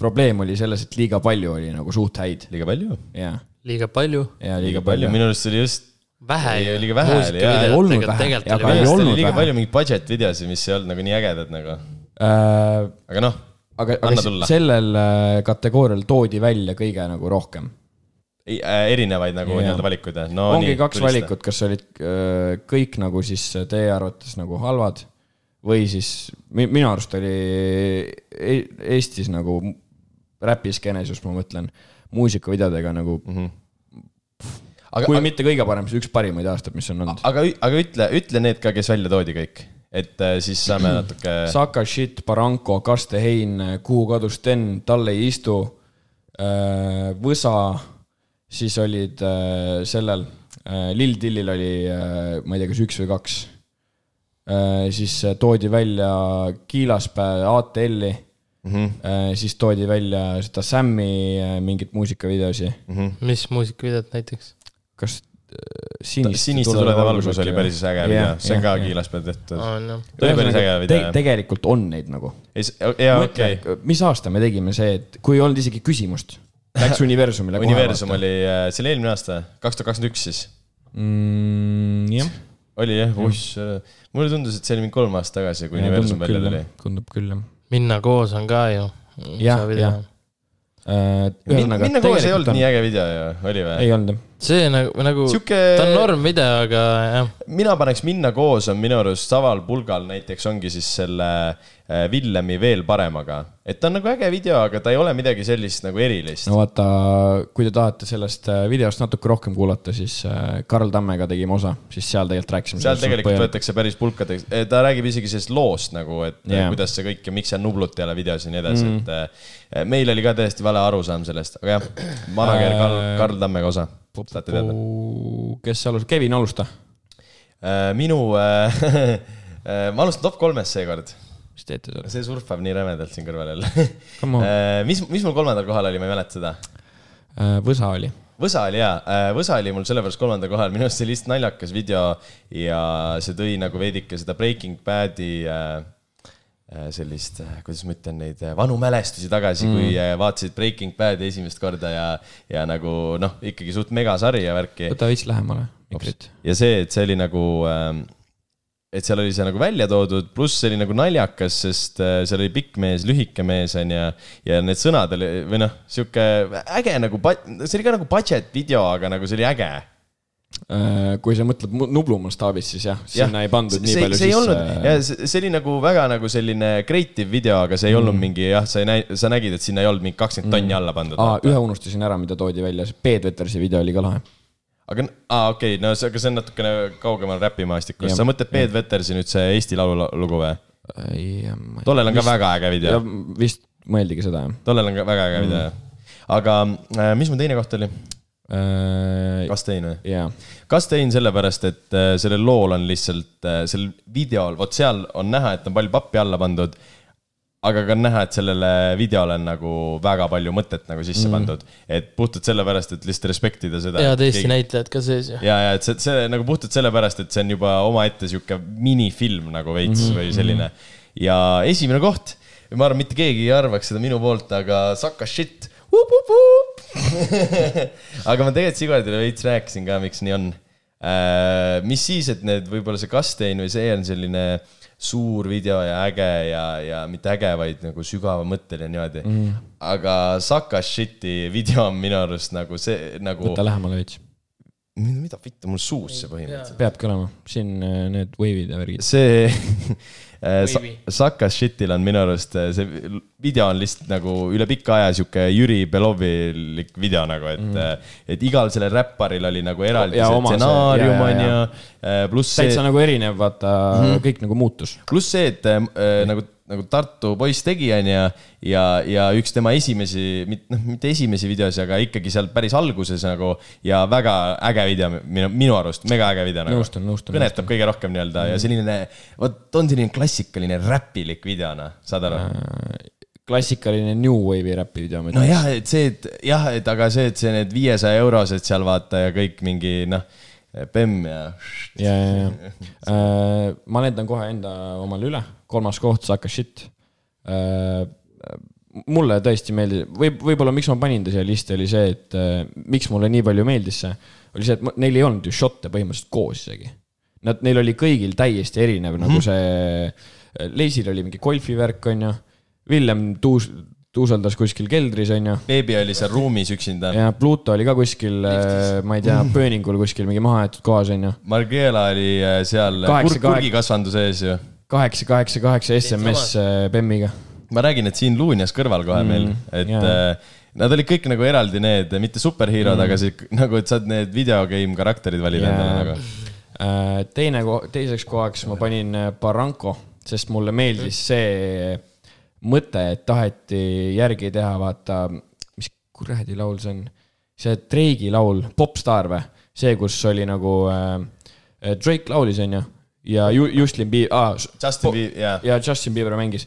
probleem oli selles , et liiga palju oli nagu suht häid
liiga palju .
ja ,
liiga palju ,
ja liiga
liiga palju ,
palju .
minu arust oli just .
vähe
Ei,
ju .
liiga vähe oli, jaa, ei
olnud vähe. Ja aga ei
minu
tegelikult
arust
olnud
oli liiga
vähe.
palju mingeid budget videosid , mis ei olnud nagu nii ägedad nagu ,
aga ,
aga noh ,
Äh, aga
Anna
s-
tulla.
sellel äh, kategoorial toodi välja kõige nagu rohkem .
erinevaid nagu
Jaa.
nii-öelda valikuid jah. no, .
ongi kaks valikut , kas olid äh, kõik nagu siis teie arvates nagu halvad või siis mi- minu arust oli E- Eestis nagu räpiskeenes just ma mõtlen , muusikavideodega nagu mm , -hmm.
Mhm. aga
kui , mitte kõige parem , siis üks parimaid aastaid , mis on olnud .
aga , aga ütle , ütle need ka , kes välja toodi kõik , et äh, siis saame natuke .
Saka Shit , Barranco , Kaste Hein , Kuhu kadus Sten , Tal ei istu , Võsa , siis olid äh, sellel , Lill Dillil oli , ma ei tea , kas üks või kaks . siis äh, toodi välja Kiilaspää ATL-i mm ,
Mhm.
-hmm. siis toodi välja seda Sämmi äh, mingit muusikavideosi
Mhm.
mm . -hmm.
mis muusikavideot näiteks ?
kas äh, siniste,
siniste tulede valgus oli päris äge video , see on ka
Kiilaspää .
Kiilaspäev tehtud .
on jah .
ta oli päris äge video .
tegelikult on neid nagu
jaa ,
mõtle
okei ,,
mis aasta me tegime see , et kui ei olnud isegi küsimust , läks universumile .
Universum . oli , see oli eelmine aasta , kaks tuhat kakskümmend üks siis
Mm, jah ,
oli jah , uss , mulle tundus , et see oli mingi kolm aastat tagasi , kui Universum
tundub
välja
küll
tuli
jah ., tundub küll jah .
minna koos on ka ju
jah , jah . Äh, ühesõnaga .
minna koos ei olnud nii äge video ju , oli või ?
ei olnud jah .
see nagu , nagu Siuke...
Siuke-
ta on normvideo , aga jah ,
mina paneks Minna koos on minu arust Saval Pulgal näiteks ongi siis selle äh, Villemi veel paremaga , et ta on nagu äge video , aga ta ei ole midagi sellist nagu erilist .
no vaata , kui te tahate sellest äh, videost natuke rohkem kuulata , siis äh, Karl Tammega tegime osa , siis seal tegelikult rääkisime .
seal tegelikult . võetakse päris pulkadeks , ta räägib isegi sellest loost nagu , et yeah.
Jaa.
kuidas see kõik ja miks seal Nublut ei ole videos ja nii edasi mm. , et äh, meil oli ka täiesti vale arusaam sellest , aga jah , manager Karl ,
Äh,
Karl Tammega osa , saate teada .
kes alustas , Kevin alusta .
Äh, minu äh, , ma alustan top kolmest seekord ,
mis teete seal ?
see surfab nii rämedalt siin kõrval
Come on.
jälle . mis , mis mul kolmandal kohal oli , ma ei mäleta seda .
Äh, Võsa oli .
Võsa oli jaa , Võsa oli mul sellepärast kolmandal kohal , minu arust see oli lihtsalt naljakas video ja see tõi nagu veidike seda Breaking Bad'i äh, äh, sellist , kuidas ma ütlen , neid äh, vanu mälestusi tagasi mm. , kui äh, vaatasid Breaking Bad'i esimest korda ja , ja nagu noh , ikkagi suht megasari ja värki .
võta veits lähemale mikrit .
ja see , et see oli nagu , et seal oli see nagu välja toodud , pluss see oli nagu naljakas , sest äh, seal oli pikk mees , lühike mees on ju , ja need sõnad oli või noh , sihuke äge nagu , see oli ka nagu budget video , aga nagu see oli äge .
Äh, kui sa mõtled mu- Nublu mastaabis , siis jah , sinna ei pandud nii palju
see ei olnud
sisse
ja . see see oli nagu väga nagu selline creative video , aga see ei olnud
Mm.
mingi jah , sa ei näi- , sa nägid , et sinna ei olnud mingi kakskümmend tonni alla pandud .
aa , ühe unustasin ära , mida toodi välja , see Peetvetersi video oli ka lahe .
aga , aa okei okay, , no see , aga see on natukene kaugemal räpimaastikust ,
Jah.
sa mõtled Peet Vetersi nüüd see Eesti Laulu lugu või ?
tollel
tollel on ka väga äge video .
vist mõeldigi seda jah
tollel on ka väga äge video mm. . aga äh, mis mu teine koht oli ?
äh, .
Kastein või ?
jaa ,
Kastein sellepärast , et äh, sellel lool on lihtsalt , sellel videol , vot seal on näha , et on palju pappi alla pandud , aga ka on näha , et sellele videole on nagu väga palju mõtet nagu sisse mm. pandud . et puhtalt sellepärast , et lihtsalt respektida seda .
head Eesti Keegi... näitlejad ka sees ju .
ja , ja et see , see nagu puhtalt sellepärast , et see on juba omaette sihuke minifilm nagu veits mm -hmm. või selline . ja esimene koht , ma arvan , mitte keegi ei arvaks seda minu poolt , aga Saka shit . aga ma tegelikult Sigurdile veits rääkisin ka , miks nii on . mis siis , et need võib-olla see Kastein või see on selline suur video ja äge ja , ja mitte äge , vaid nagu sügava mõttele niimoodi mm. . aga Saka shit'i video on minu arust nagu see nagu .
võta lähemale veits .
mida mida vittu mul suus see põhimõtteliselt .
peabki olema , siin äh, need wave'id ja värgid .
see äh, sa- Sakas Shitil on minu arust äh, see video on lihtsalt nagu üle pika aja sihuke Jüri Belovilik video nagu , et mm. , et igal sellel räpparil oli nagu eraldi
Mhm. Ja
see
oma see-
stsenaarium
ja, ja,
on ju
ja. ,
pluss
täitsa
see ,
nagu erinev , vaata mm , -hmm. kõik nagu muutus .
pluss see , et äh, nagu , nagu Tartu poiss tegi , on ju , ja , ja üks tema esimesi , noh , mitte esimesi videosi , aga ikkagi seal päris alguses nagu ja väga äge video minu , minu arust , mega äge video nagu .
Nõustun, nõustun, Mm.
kõnetab kõige rohkem nii-öelda ja selline , vot on selline klassikaline räpilik video , noh , saad aru ?
klassikaline New Wave'i räpi video .
nojah , et see , et jah , et aga see , et see need viiesaja eurosed seal vaata ja kõik mingi noh , bemm ja .
ja , ja , ja äh, ma lendan kohe enda omale üle , kolmas koht , Saka Shit äh, . mulle tõesti meeldis , võib , võib-olla miks ma panin ta siia listi , oli see , et äh, miks mulle nii palju meeldis see , oli see , et ma- neil ei olnud ju šotte põhimõtteliselt koos isegi . Nad , neil oli kõigil täiesti erinev mm , -hmm. nagu see , Leisil oli mingi golfivärk , onju , Villem tuus- , tuuseldas kuskil keldris , onju
beebi oli seal ruumis üksinda .
ja Pluto oli ka kuskil , ma ei tea , pööningul kuskil mingi mahaaetud kohas onju .
Margiela oli äh, seal
Kaheksa-
kur- kurgikasvanduse ees ju
kaheksa , kaheksa , kaheksa SMS äh, Bemmiga .
ma räägin , et siin Luunjas kõrval kohe mm, meil , et
jaa.
yeah. nad olid kõik nagu eraldi need , mitte superheerod mm. , aga see nagu , et saad need videogame karakterid valida yeah. endale nagu .
äh, teine , teiseks kohaks ma panin äh, Barranco , sest mulle meeldis
Mm.
see mõte , et taheti järgi teha , vaata , mis kuradi laul see on , see Drake'i laul , Popstar või , see , kus oli nagu äh, Drake laulis onju ja Ju- Justin Bieber ah, ,
Justin Bieber- jaa.
ja Justin Bieber mängis ,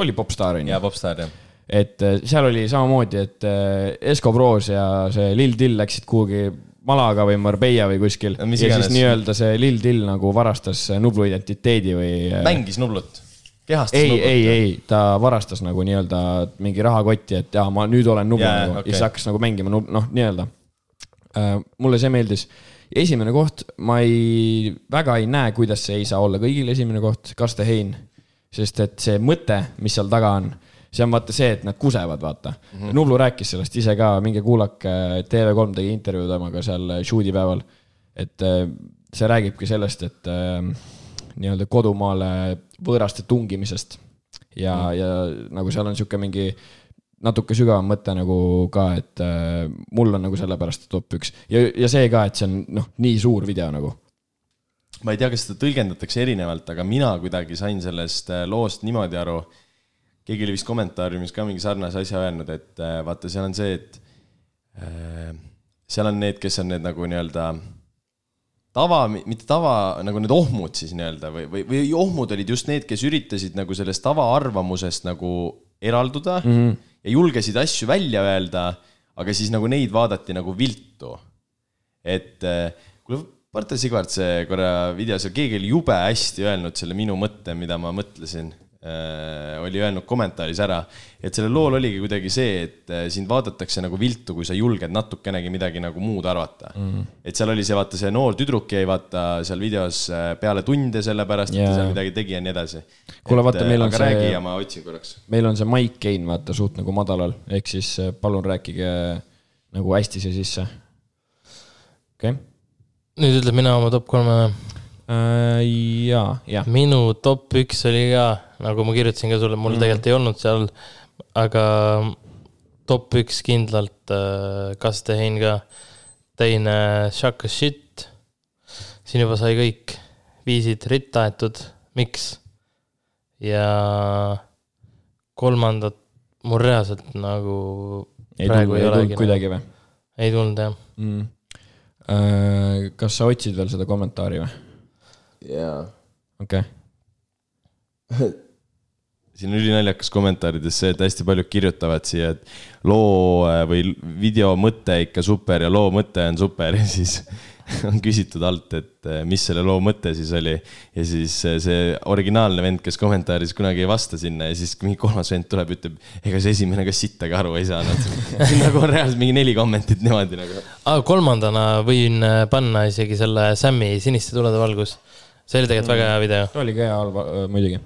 oli Popstar onju
ja . popstaar jah .
et äh, seal oli samamoodi , et äh, Esko Proos ja see Lil Dill läksid kuhugi Malaga või Marbella või kuskil . ja
No mis
siis
iganes.
nii-öelda see Lil Dill nagu varastas Nublu identiteedi või . ei ,
mängis Nublut , kehastas
ei ,
Nublut .
ei, ei , ta varastas nagu nii-öelda mingi rahakotti , et jaa , ma nüüd olen Nublu
Jaa,
yeah, nagu. okay.
okei.
ja siis hakkas nagu mängima , noh , nii-öelda Äh, mulle see meeldis . esimene koht , ma ei , väga ei näe , kuidas see ei saa olla kõigil esimene koht , Kaste Hein . sest et see mõte , mis seal taga on , see on vaata see , et nad kusevad , vaata mm .
Mhm.
-hmm. Nublu rääkis sellest ise ka , minge kuulake , äh, TV3 tegi intervjuu temaga seal shoot'i päeval . et äh, see räägibki sellest , et äh, nii-öelda kodumaale võõraste tungimisest ja mm , -hmm. ja nagu seal on sihuke mingi natuke sügavam mõte nagu ka , et äh, mul on nagu sellepärast top üks ja , ja see ka , et see on noh , nii suur video nagu
ma ei tea , kas seda tõlgendatakse erinevalt , aga mina kuidagi sain sellest äh, loost niimoodi aru . keegi oli vist kommentaariumis ka mingi sarnase asja öelnud , et äh, vaata , seal on see , et äh, seal on need , kes on need nagu nii-öelda tava , mitte tava , nagu need ohmud siis nii-öelda või , või , või ohmud olid just need , kes üritasid nagu sellest tavaarvamusest nagu eralduda mm -hmm. ja julgesid asju välja öelda , aga siis nagu neid vaadati nagu viltu . et eh, kuule , Marta Sigvart , see korra videos , keegi oli jube hästi öelnud selle minu mõtte , mida ma mõtlesin äh, oli öelnud kommentaaris ära , et sellel lool oligi kuidagi see , et äh, sind vaadatakse nagu viltu , kui sa julged natukenegi midagi nagu muud arvata mm . -hmm.
Mhm.
et seal oli see , vaata see noor tüdruk jäi vaata seal videos äh, peale tunde sellepärast yeah. , et
Jaa.
ta seal midagi tegi ja nii edasi .
Kuule, vaata, meil on
see .
see-
räägi ja ma otsin korraks .
meil on see mic gain vaata suht nagu madalal , ehk siis äh, palun rääkige nagu hästi see sisse . okei okay.
nüüd ütled mina oma top kolme või ?
uh, . ja , ja
minu top üks oli ka , nagu ma kirjutasin ka sulle , mul
Mhm.
mm. tegelikult ei olnud seal , aga top üks kindlalt äh, Kaste Hein ka . teine Shaka Shit . siin juba sai kõik viisid ritta aetud , miks ? ja kolmandat mul reaalselt nagu
ei
praegu ei
tulnud , ei
olegi nagu-
tulnud . kuidagi või
ei tulnud jah .
mm. ? Uh, kas sa otsid veel seda kommentaari või ?
jaa .
okei okay. ,
siin on ülinaljakas kommentaarides see , et hästi paljud kirjutavad siia , et loo äh, või video mõte ikka super ja loo mõte on super ja siis on küsitud alt , et äh, mis selle loo mõte siis oli . ja siis äh, see originaalne vend , kes kommentaaris kunagi ei vasta sinna ja siis mingi kolmas vend tuleb , ütleb , ega see esimene ka sittagi aru ei saanud . siin nagu on reaalselt mingi neli kommentit niimoodi nagu .
ah, . kolmandana võin äh, panna isegi selle Sam'i Siniste tulede valgus . see oli
Mhm.
tegelikult mm. väga hea video .
oli ka hea halb uh, muidugi ,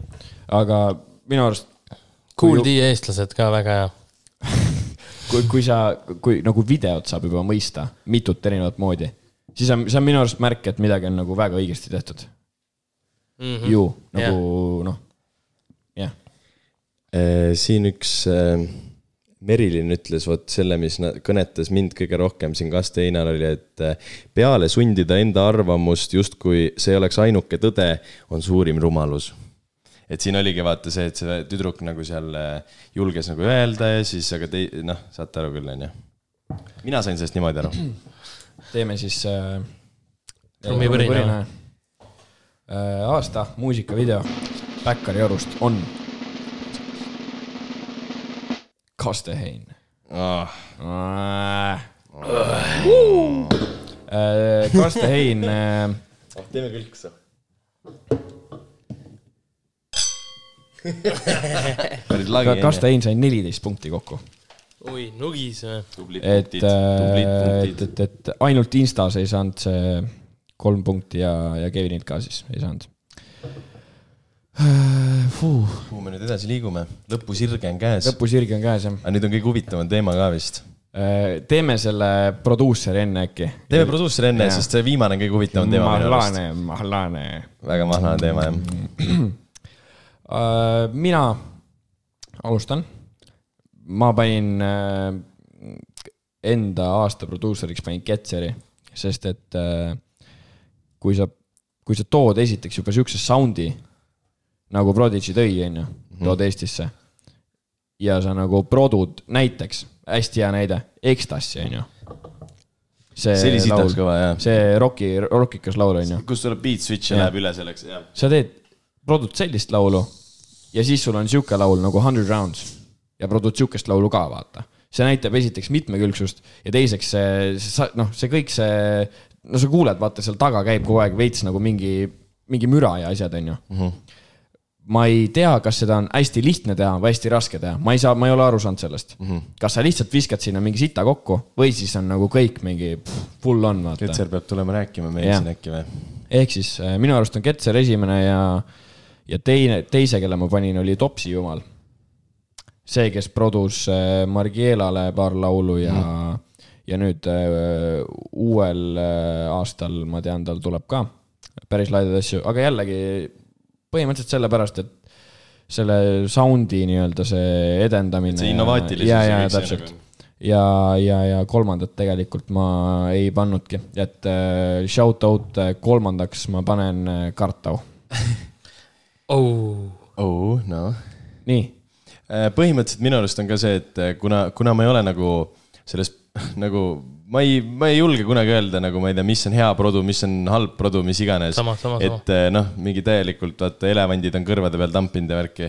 aga minu arust
Cool D eestlased ka väga hea .
kui , kui sa , kui nagu videot saab juba mõista mitut erinevat moodi , siis on , see on minu arust märk , et midagi on nagu väga õigesti tehtud mm . -hmm. ju nagu yeah. noh , jah .
siin üks äh, Merilin ütles vot selle , mis na- kõnetas mind kõige rohkem siin Kaste Einar oli , et äh, peale sundida enda arvamust , justkui see oleks ainuke tõde , on suurim rumalus et siin oligi vaata see , et see tüdruk nagu seal äh, julges nagu öelda ja siis , aga te noh , saate aru küll , onju . mina sain sellest niimoodi aru .
teeme siis äh, .
Trummipõrina.
äh, . aasta muusikavideo Backyard'i orust on . Kastehein
Ah,
äh. . Kastehein äh,
teeme külksa . päris lagi
Ka- . Kastein sai neliteist punkti kokku .
oi , nugis või ?
tublid
et ,
punktid , tublid
et ,
punktid .
et , et ainult Instas ei saanud see kolm punkti ja , ja Kevinilt ka siis ei saanud .
kuhu me nüüd edasi liigume , lõpusirge on käes .
lõpusirg on käes jah .
aga nüüd on kõige huvitavam teema ka vist .
teeme selle produusseri enne äkki .
teeme produusseri enne ,
Jaa.
sest see viimane on kõige huvitavam teema minu arust .
Mahlane , Mahlane .
väga mahlane teema jah .
Äh, mina alustan . ma panin äh, enda aasta produusseriks panin Ketseri , sest et äh, kui sa , kui sa tood esiteks juba siukse sound'i nagu Prodigy tõi , onju ,
Mhm.
tood Eestisse . ja sa nagu produd näiteks , hästi hea näide , Ecstasy , onju .
See oli sitaks kõva, jah.
see roki , rokikas laul , onju .
kus tuleb beat switch ja läheb üle selleks , jah .
sa teed , produd sellist laulu ja siis sul on sihuke laul nagu Hundred Rounds ja produd sihukest laulu ka , vaata . see näitab esiteks mitmekülgsust ja teiseks see , see , noh , see kõik see , no sa kuuled , vaata seal taga käib kogu aeg veits nagu mingi , mingi müra ja asjad , on ju ma ei tea , kas seda on hästi lihtne teha või hästi raske teha , ma ei saa , ma ei ole aru saanud sellest mm . -hmm. kas sa lihtsalt viskad sinna mingi sita kokku või siis on nagu kõik mingi pff, full on , vaata .
Ketser peab tulema rääkima meil
Jah.
siin äkki või ?
ehk siis äh, minu arust on Ketser esimene ja , ja teine , teise , kelle ma panin , oli Topsi jumal . see , kes produs äh, Margielale paar laulu ja
Mhm.
mm. , ja nüüd äh, uuel äh, aastal ma tean , tal tuleb ka päris laidaid asju , aga jällegi põhimõtteliselt sellepärast , et selle sound'i nii-öelda see edendamine .
Et see nagu innovaatilisus
ja ,
ja
ja
kõik see
täpselt . ja , ja , ja kolmandat tegelikult ma ei pannudki , et äh, shout out äh, kolmandaks ma panen äh, Kartau ,
oh. .
oh , noh .
nii
Äh, põhimõtteliselt minu arust on ka see , et äh, kuna , kuna ma ei ole nagu selles nagu , ma ei , ma ei julge kunagi öelda nagu ma ei tea , mis on hea produ , mis on halb produ , mis iganes
Sama, sama, sama.
et eh, noh , mingi täielikult vaata elevandid on kõrvade peal tampinud ja värki .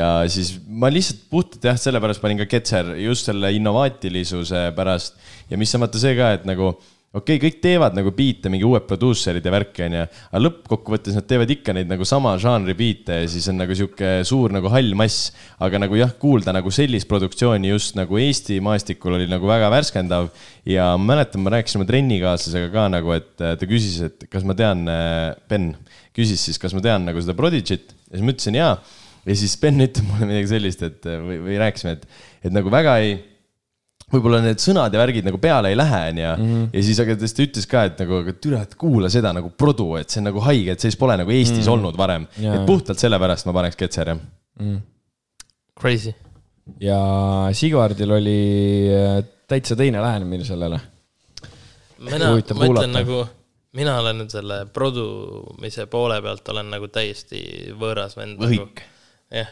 ja siis ma lihtsalt puhtalt jah , sellepärast panin ka Ketser just selle innovaatilisuse pärast ja mis on vaata see ka , et nagu okei okay, , kõik teevad nagu biite , mingi uued produusserid ja värki onju , aga lõppkokkuvõttes nad teevad ikka neid nagu sama žanri biite ja siis on nagu sihuke suur nagu hall mass . aga nagu jah , kuulda nagu sellist produktsiooni just nagu Eesti maastikul oli nagu väga värskendav ja ma mäletan , ma rääkisin oma trennikaaslasega ka nagu , et äh, ta küsis , et kas ma tean , Ben küsis siis , kas ma tean nagu seda Prodigy't ja siis ma ütlesin jaa . ja siis Ben ütleb mulle midagi sellist , et äh, või , või rääkisime , et , et nagu väga ei võib-olla need sõnad ja värgid nagu peale ei lähe ,
Mhm.
onju . ja siis , aga ta siis ta ütles ka , et nagu , aga türa , et kuula seda nagu produ , et see on nagu haige , et sellist pole nagu Eestis mm -hmm. olnud varem .
Mhm. Jaa,
et
jaa.
puhtalt sellepärast ma paneks Ketser , jah .
Crazy .
ja Sigvardil oli äh, täitsa teine lähenemine sellele .
mina , ma
Huvitav kuulata.
ütlen nagu , mina olen nüüd selle produmise poole pealt olen nagu täiesti võõras vend .
Võhik. .
jah ,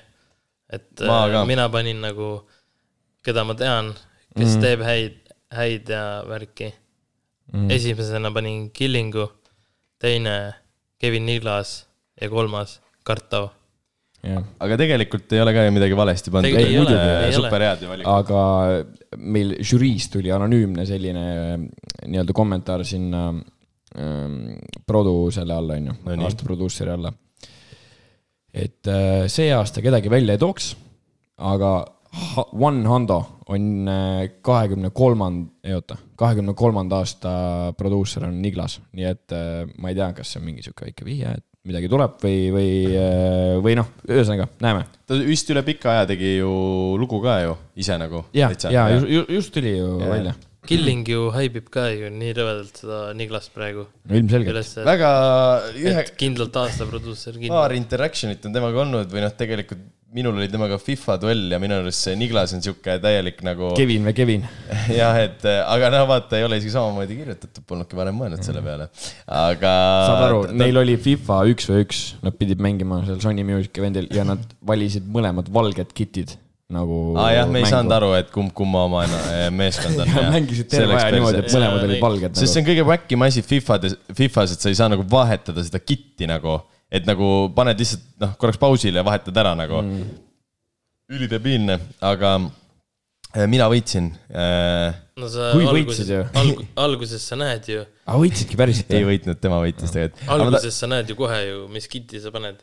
et
Ma
äh,
ka.
mina panin nagu , keda ma tean , kes mm. teeb häid , häid ja värki mm. . esimesena panin Killingu , teine Kevin Niilas ja kolmas Kartov .
aga tegelikult ei ole ka ju midagi valesti pandud .
Tegelikult
ei ole,
ei ole.
super head ju valik .
aga meil žüriis tuli anonüümne selline äh, nii-öelda kommentaar sinna ähm, produ selle alla , onju ,
No nii.
aasta produusseri alla . et äh, see aasta kedagi välja ei tooks , aga Ha- One Hondo on äh, kahekümne kolmand- , ei oota , kahekümne kolmanda aasta produusser on Niglas , nii et äh, ma ei tea , kas see on mingi sihuke väike vihje , et midagi tuleb või , või , või noh , ühesõnaga näeme
ta vist üle pika aja tegi ju lugu ka ju ise nagu .
ja , ja ju- ju- just tuli ju ja. välja .
Killing ju haibib ka ju nii rõvedalt seda Niglast praegu
no ilmselgelt .
üles ,
väga ühe
et kindlalt aasta produusser kindlalt .
paar interaction'it on temaga olnud või noh , tegelikult minul oli temaga FIFA duell ja minu arust see Niglas on sihuke täielik nagu .
Kevin või Kevin ?
jah , et äh, aga noh , vaata , ei ole isegi samamoodi kirjutatud , polnudki varem mõelnud selle peale , aga .
Mhm. saad aru ,
Äh,
neil oli FIFA üks või üks , nad pidid mängima seal Sony Music event'il ja nad valisid mõlemad valged kitid nagu .
aa Ah, jah , me ei saanud . aru , et kumb kumma oma enna- meeskond on .
mängisid terve aja niimoodi , et mõlemad
Jaa,
olid
nii.
valged
sest
nagu .
see on kõige vähkim asi FIFA-des , FIFA-s , et sa ei saa nagu vahetada seda kitti nagu , et nagu paned lihtsalt noh , korraks pausile ja vahetad ära nagu mm. . ülidebiilne , aga äh, mina võitsin äh, .
no sa
Kui
alguses
võitsid ju. ,
alg, alguses sa näed ju ,
aga Ah, võitsidki päriselt
ei
või ?
võitnud , tema võitis tegelikult .
alguses sa näed ju kohe ju , mis kiti sa paned .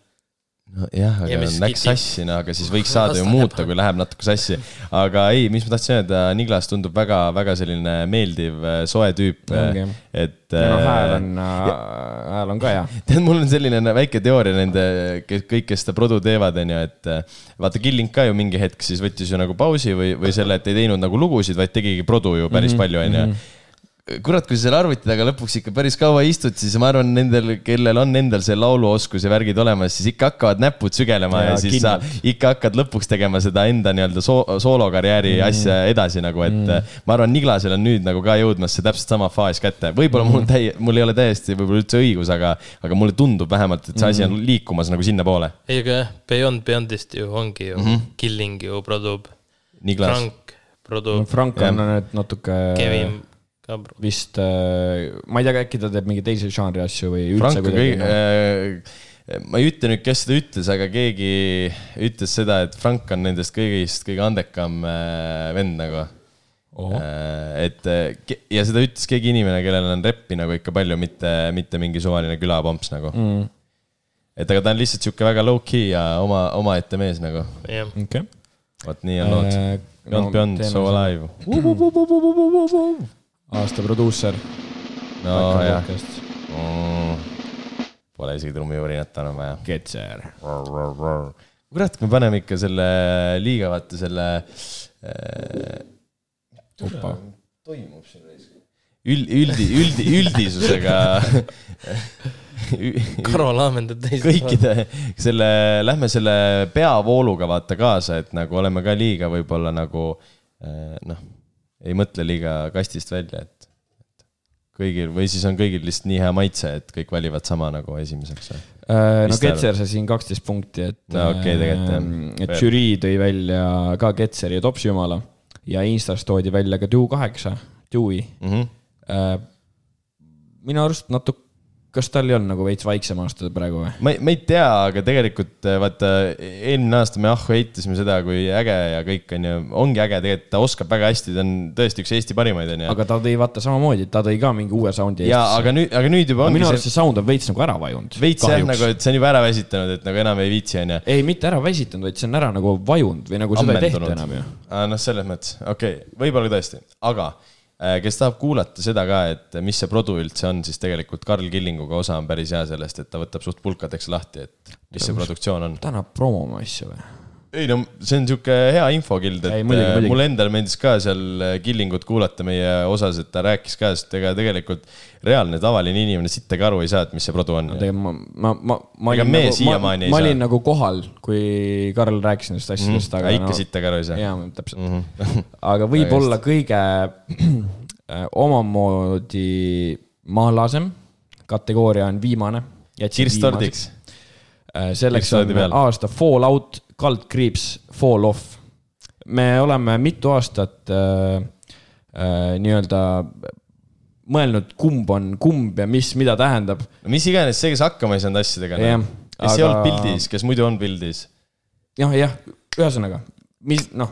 nojah , aga
Ja mis
läks
kiti-
sassi , no aga siis võiks saada ju
Las ta
muuta ,
jääb.
kui läheb natuke sassi . aga ei , mis ma tahtsin öelda , Niglas tundub väga-väga selline meeldiv , soe tüüp .
Ongi.
et . äh,
no Noh, hääl on , hääl on ka hea .
tead , mul on selline väike teooria nende , kes kõik , kes seda produ teevad , onju , et äh, vaata , Killing ka ju mingi hetk siis võttis ju nagu pausi või , või selle , et ei teinud nagu lugusid , vaid tegigi produ ju päris mm -hmm. palju , onju kurat , kui sa seal arvuti taga lõpuks ikka päris kaua istud , siis ma arvan , nendel , kellel on endal see lauluoskus ja värgid olemas , siis ikka hakkavad näpud sügelema ja, ja
Jaa,
siis kindlalt. sa
kindlalt.
ikka hakkad lõpuks tegema seda enda nii-öelda soo- , soolokarjääri mm. asja edasi nagu , et mm. ma arvan , Niglasel on nüüd nagu ka jõudmas see täpselt sama faas kätte . võib-olla mm. mul täi- , mul ei ole täiesti võib-olla üldse õigus , aga , aga mulle tundub vähemalt , et see asi on liikumas nagu sinnapoole .
ei , aga jah , Beyond Beyondist ju ongi ju mm , -hmm.
Mhm.
Killing ju produb ,
Niglas ,
Frank produb ,
Frank on nüüd natuke
Kevin ka pro-
vist , ma ei tea , äkki ta teeb mingeid teisi žanri asju või üldse noh.
Frank on kõige , ma ei ütle nüüd , kes seda ütles , aga keegi ütles seda , et Frank on nendest kõigist kõige andekam äh, vend nagu
Ohoh.
Äh, et äh, ke- ja seda ütles keegi inimene , kellel on reppi nagu ikka palju , mitte , mitte mingi suvaline külapomps nagu mm. . et aga ta on lihtsalt sihuke väga low-key ja oma , omaette mees nagu ,
jah ,
okei .
vot nii on lood .
Äh,
Beyond Äh, no, Beyond , So Alive .
aasta produusser .
no jah . Mm. Pole isegi trummijuurinat enam vaja .
Ketser .
kurat , me paneme ikka selle liiga , vaata selle äh, . toimub siin reis . üld , üldi , üldi , üldisusega
Karo laamendab teist .
kõikide selle , lähme selle peavooluga vaata kaasa , et nagu oleme ka liiga võib-olla nagu eh, noh , ei mõtle liiga kastist välja , et et kõigil või siis on kõigil lihtsalt nii hea maitse , et kõik valivad sama nagu esimeseks .
Äh, no
Mis te
Ketser sai siin kaksteist punkti , et
No okei, tegelikult jah.
ähm, et
Fair.
žürii tõi välja ka Ketseri ja Topsi jumala ja Instas toodi välja ka Duu kaheksa , Dewey mm .
Mhm.
-hmm. minu arust natuke , kas tal ei olnud nagu veits vaiksem aasta praegu või ?
ma ei , ma ei tea , aga tegelikult eh, vaata eelmine aasta me ahhu heitasime seda , kui äge ja kõik on ju , ongi äge , tegelikult ta oskab väga hästi , ta on tõesti üks Eesti parimaid on ju .
aga ta tõi vaata samamoodi , ta tõi ka mingi uue sound'i .
ja aga nüüd , aga nüüd juba ongi
minu arust
see
see sound on veits nagu ära vajunud .
veits jah , nagu , et see on juba ära väsitanud , et nagu enam ei viitsi , on ju .
ei , mitte ära väsitanud , vaid see on ära nagu vajunud või nagu seda ei tehta enam ju .
Ah, noh , selles mõttes , okei okay. , võib-olla tõesti , aga äh, kes tahab kuulata seda ka , et mis see produ üldse on , siis tegelikult Karl Killinguga osa on päris hea sellest , et ta võtab suht pulkadeks lahti , et mis see produktsioon on .
täna promoma asju või ?
ei no see on sihuke hea infokild , et
Ei, muidugi,
äh,
muidugi.
mulle endale meeldis ka seal äh, Killingut kuulata meie osas , et ta rääkis ka , sest ega tegelikult reaalne tavaline inimene sittagi aru ei saa , et mis see produ on .
tegelikult ma , ma , ma , ma
Ega
olin
me
nagu , ma,
siiamaani
ma
ei saa. Mhm.
olin nagu kohal , kui Karl rääkis nendest asjadest , aga
aga ikka Mm. sittagi aru ei saa .
jaa , täpselt mm .
Mhm.
-hmm. aga võib-olla kõige äh, omamoodi mahlasem kategooria on viimane .
Kirss tordiks ..
selleks
Kirss
on
tordi peal.
aasta Fallout , kaldkriips , Fall off . me oleme mitu aastat äh, äh, nii-öelda mõelnud , kumb on kumb ja mis , mida tähendab
no mis iganes see , kes hakkama ei saanud asjadega .
Jah,
kes aga... ei
aga-
olnud pildis , kes muidu on pildis
jah , jah , ühesõnaga , mis noh ,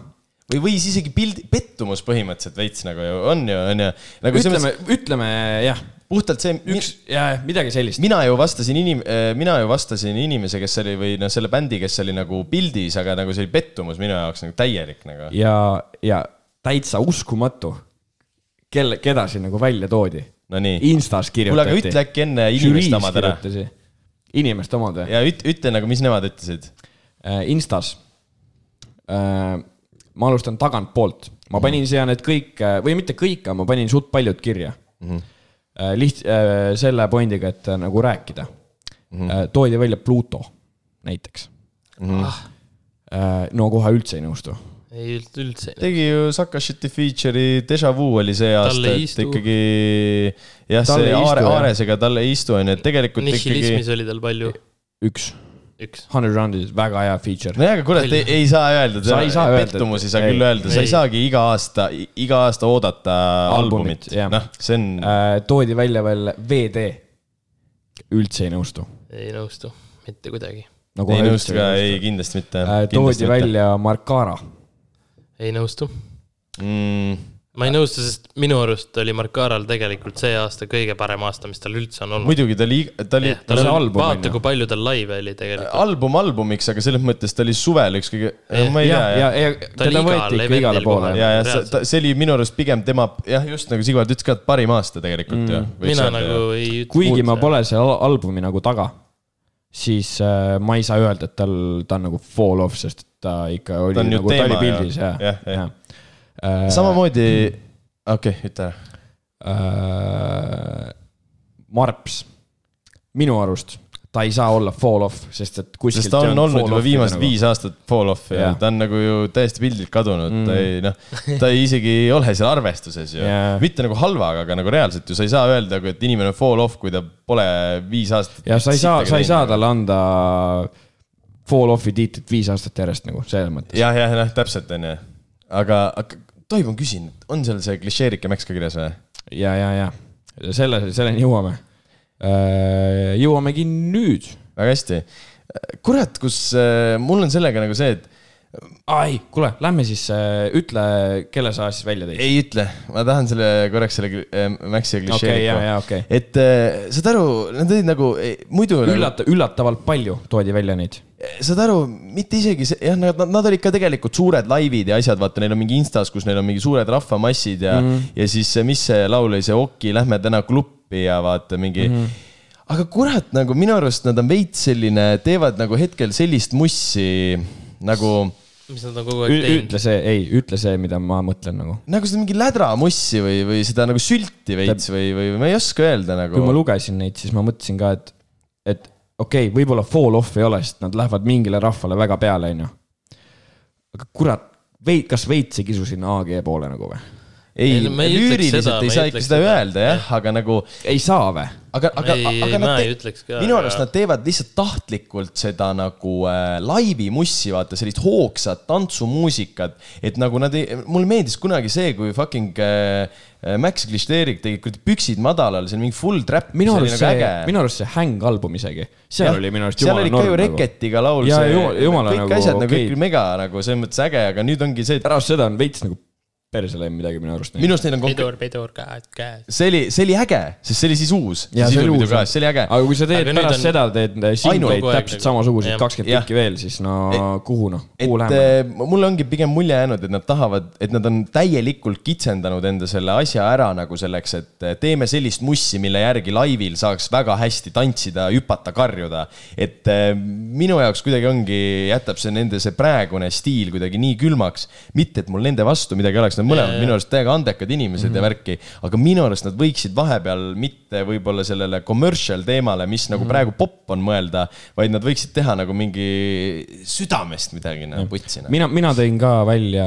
või , või siis isegi pildi , pettumus põhimõtteliselt veits nagu ju on ju , on ju . nagu selles
ütleme
mõttes ,
ütleme jah ,
puhtalt see ,
üks ja ja midagi sellist .
mina ju vastasin inim- , mina ju vastasin inimese , kes oli või noh , selle bändi , kes oli nagu pildis , aga nagu see oli pettumus minu jaoks nagu täielik nagu .
ja , ja täitsa uskumatu , kelle , keda siin nagu välja toodi .
Nonii ,
Instas
kuule , aga
kirjutati .
ütle äkki enne inimeste omad ära .
inimeste omad või ?
ja üt- , ütle nagu , mis nemad ütlesid .
Instas . Äh, ma alustan tagantpoolt , ma panin siia need kõik äh, või mitte kõik , aga ma panin suht paljud kirja mm . -hmm. liht- , selle pointiga , et äh, nagu rääkida mm . -hmm. toodi välja Pluto näiteks
Ah.
mm . -hmm. no kohe üldse ei nõustu .
ei üld- üldse .
tegi ju Sakashiti feature'i Deja Vu oli see
Talle
aasta ,
ei
et
istu.
ikkagi jah ,
Talle ei
see
istu,
Aare ,
jah.
Aaresega talle ei istu , on ju , et tegelikult ikkagi
nihilismis oli tal palju ,
üks ,
üks .
Hundred Rounded , väga hea feature .
nojah , aga kurat , ei, ei saa öelda ,
Sa ei saa öelda, et-
pettumusi ei saa küll
ei.
öelda , sa ei
Ei.
saagi iga aasta , iga aasta oodata
Albumit,
albumit,
jah.
noh , see on äh, ,
toodi välja veel VD . üldse ei nõustu .
ei nõustu , mitte kuidagi .
no
ei
kohe
nõustu
üldse
ka ,
ei
ei
nõustu .
kindlasti mitte .
toodi . välja Marcara
ei nõustu .
Mm,
ma ei nõustu , sest minu arust oli Marcaral tegelikult see aasta kõige parem aasta , mis tal üldse on olnud .
muidugi ta oli , ta oli
jah , tal
see
on ,
album on ju.
vaata kui palju tal laive oli tegelikult .
album albumiks , aga selles mõttes ta oli suvel üks kõige , ma ei
ja , ja
tea , jah ,
ja
Ta oli
teda võeti
igal
ikka igale
levelil
poole
kohe.
ja , ja
nagu reaalselt.
see- ta- see oli minu arust pigem tema , jah , just nagu Sigvard ütles ka , et parim aasta tegelikult ju .
Mm. mina nagu ei ütle .
kuigi ma . pole selle al- albumi nagu taga , siis äh, ma ei saa öelda , et tal , ta on nagu fall off , sest ta ikka oli
Ta on ju
nagu , ta
teema,
oli pildis ja
jah. , Jah, jah.
ja .
samamoodi , okei okay, , ütle ära .
Äh, Marps , minu arust ta ei saa olla fall off , sest et kuskilt .
sest ta on olnud juba viimased nagu... viis aastat fall off ja
Jah.
ta on nagu ju täiesti pildilt kadunud mm. , ta ei noh , ta ei isegi ei ole seal arvestuses ju
Jah.
yeah. . mitte nagu halvaga , aga nagu reaalselt ju sa ei saa öelda , et inimene on fall off , kui ta pole viis aastat .
ja sa ei saa , sa ei saa . talle anda fall off'i tiitlit viis aastat järjest nagu selles mõttes .
jah , jah , noh , täpselt on ju . aga , aga tohib , ma küsin , on seal see klišeerike mäks ka kirjas või ?
ja , ja , ja selle , selleni jõuame . jõuamegi nüüd
väga hästi . kurat , kus äh, mul on sellega nagu see , et
ai , kuule , lähme siis äh, ütle , kelle sa siis välja tõid .
ei ütle , ma tahan selle korraks selle kli- äh, mäksi ja klišeeriku
Okei, jaa, jaa, okei.
et äh, saad aru , nad olid nagu eh, muidu .
üllata- , üllatavalt palju toodi välja neid .
saad aru , mitte isegi see , jah , nad , nad olid ka tegelikult suured laivid ja asjad , vaata , neil on mingi Instas , kus neil on mingi suured
Mhm. Mhm.
rahvamassid ja mm , -hmm. ja siis see- mis see laul oli , see Oki , lähme täna kluppi ja vaata mingi mm . -hmm. aga kurat , nagu minu arust nad on veits selline , teevad nagu hetkel sellist mussi nagu ,
mis nad on kogu aeg teinud .
ütle see , ei , ütle see , mida ma mõtlen nagu .
nagu seda mingi lädramussi või , või seda nagu sülti veits või , või ma ei oska öelda
kui ma
nagu .
lugesin neid , siis ma mõtlesin ka , et , et okei okay, , võib-olla fall off ei ole , sest nad lähevad mingile rahvale väga peale , onju . aga kurat , veid- , kas veits ei kisu sinna AG poole nagu või ?
ei
Ei, no , ma ei ütleks seda,
lüüriliselt
ma
ei
ei
saa ikka
ütleks
seda
seda.
öelda jah , aga nagu
ei saa või ?
aga , aga ,
Ei,
aga
ei, ma
te-
ei ütleks ka,
minu
aga-
arust nad teevad lihtsalt tahtlikult seda nagu äh, laivi mussi , vaata sellist hoogsat tantsumuusikat , et nagu nad ei , mulle meeldis kunagi see , kui fucking äh, äh, Max Glisterik tegi kuradi püksid madalal , see nagu oli mingi full trap .
minu arust see , minu arust see Hang album isegi , seal oli minu arust
seal
jumala
oli ikka
norm
ju
nagu .
Reketiga laul ,
Jaa,
see
jumala- jumala
kõik
nagu
asjad nagu
okei.
ikka mega nagu selles mõttes äge , aga nüüd ongi see , et
pärast seda on veits nagu perse läinud midagi minu arust .
minu arust neil on konkreetne
pidur , pidur , käed , käed .
see oli , see oli äge , sest see oli siis uus . see oli äge .
aga kui sa teed
Aga nüüd
pärast
on-
on... seda , teed
Ainult
singleid
kogu aeg
täpselt
nagu-
samasuguseid
jah. ,
Jah.
kakskümmend tükki veel , siis no kuhu noh , kuhu
et
läheme ?
eh, mulle ongi pigem mulje jäänud , et nad tahavad , et nad on täielikult kitsendanud enda selle asja ära nagu selleks , et eh, teeme sellist mussi , mille järgi laivil saaks väga hästi tantsida , hüpata , karjuda . et eh, minu jaoks kuidagi ongi , jätab see nende see praegune stiil kuidagi nii külmaks . mitte , et mul nende vastu midagi oleks , nad mõlemad minu arust täiega andekad inimesed mm -hmm. ja värki , aga minu arust nad võiksid vahepeal mitte võib-olla sellele commercial teemale , mis nagu mm -hmm. praegu popp on mõelda , vaid nad võiksid teha nagu mingi südamest midagi nagu putsi .
mina , mina tõin ka välja ,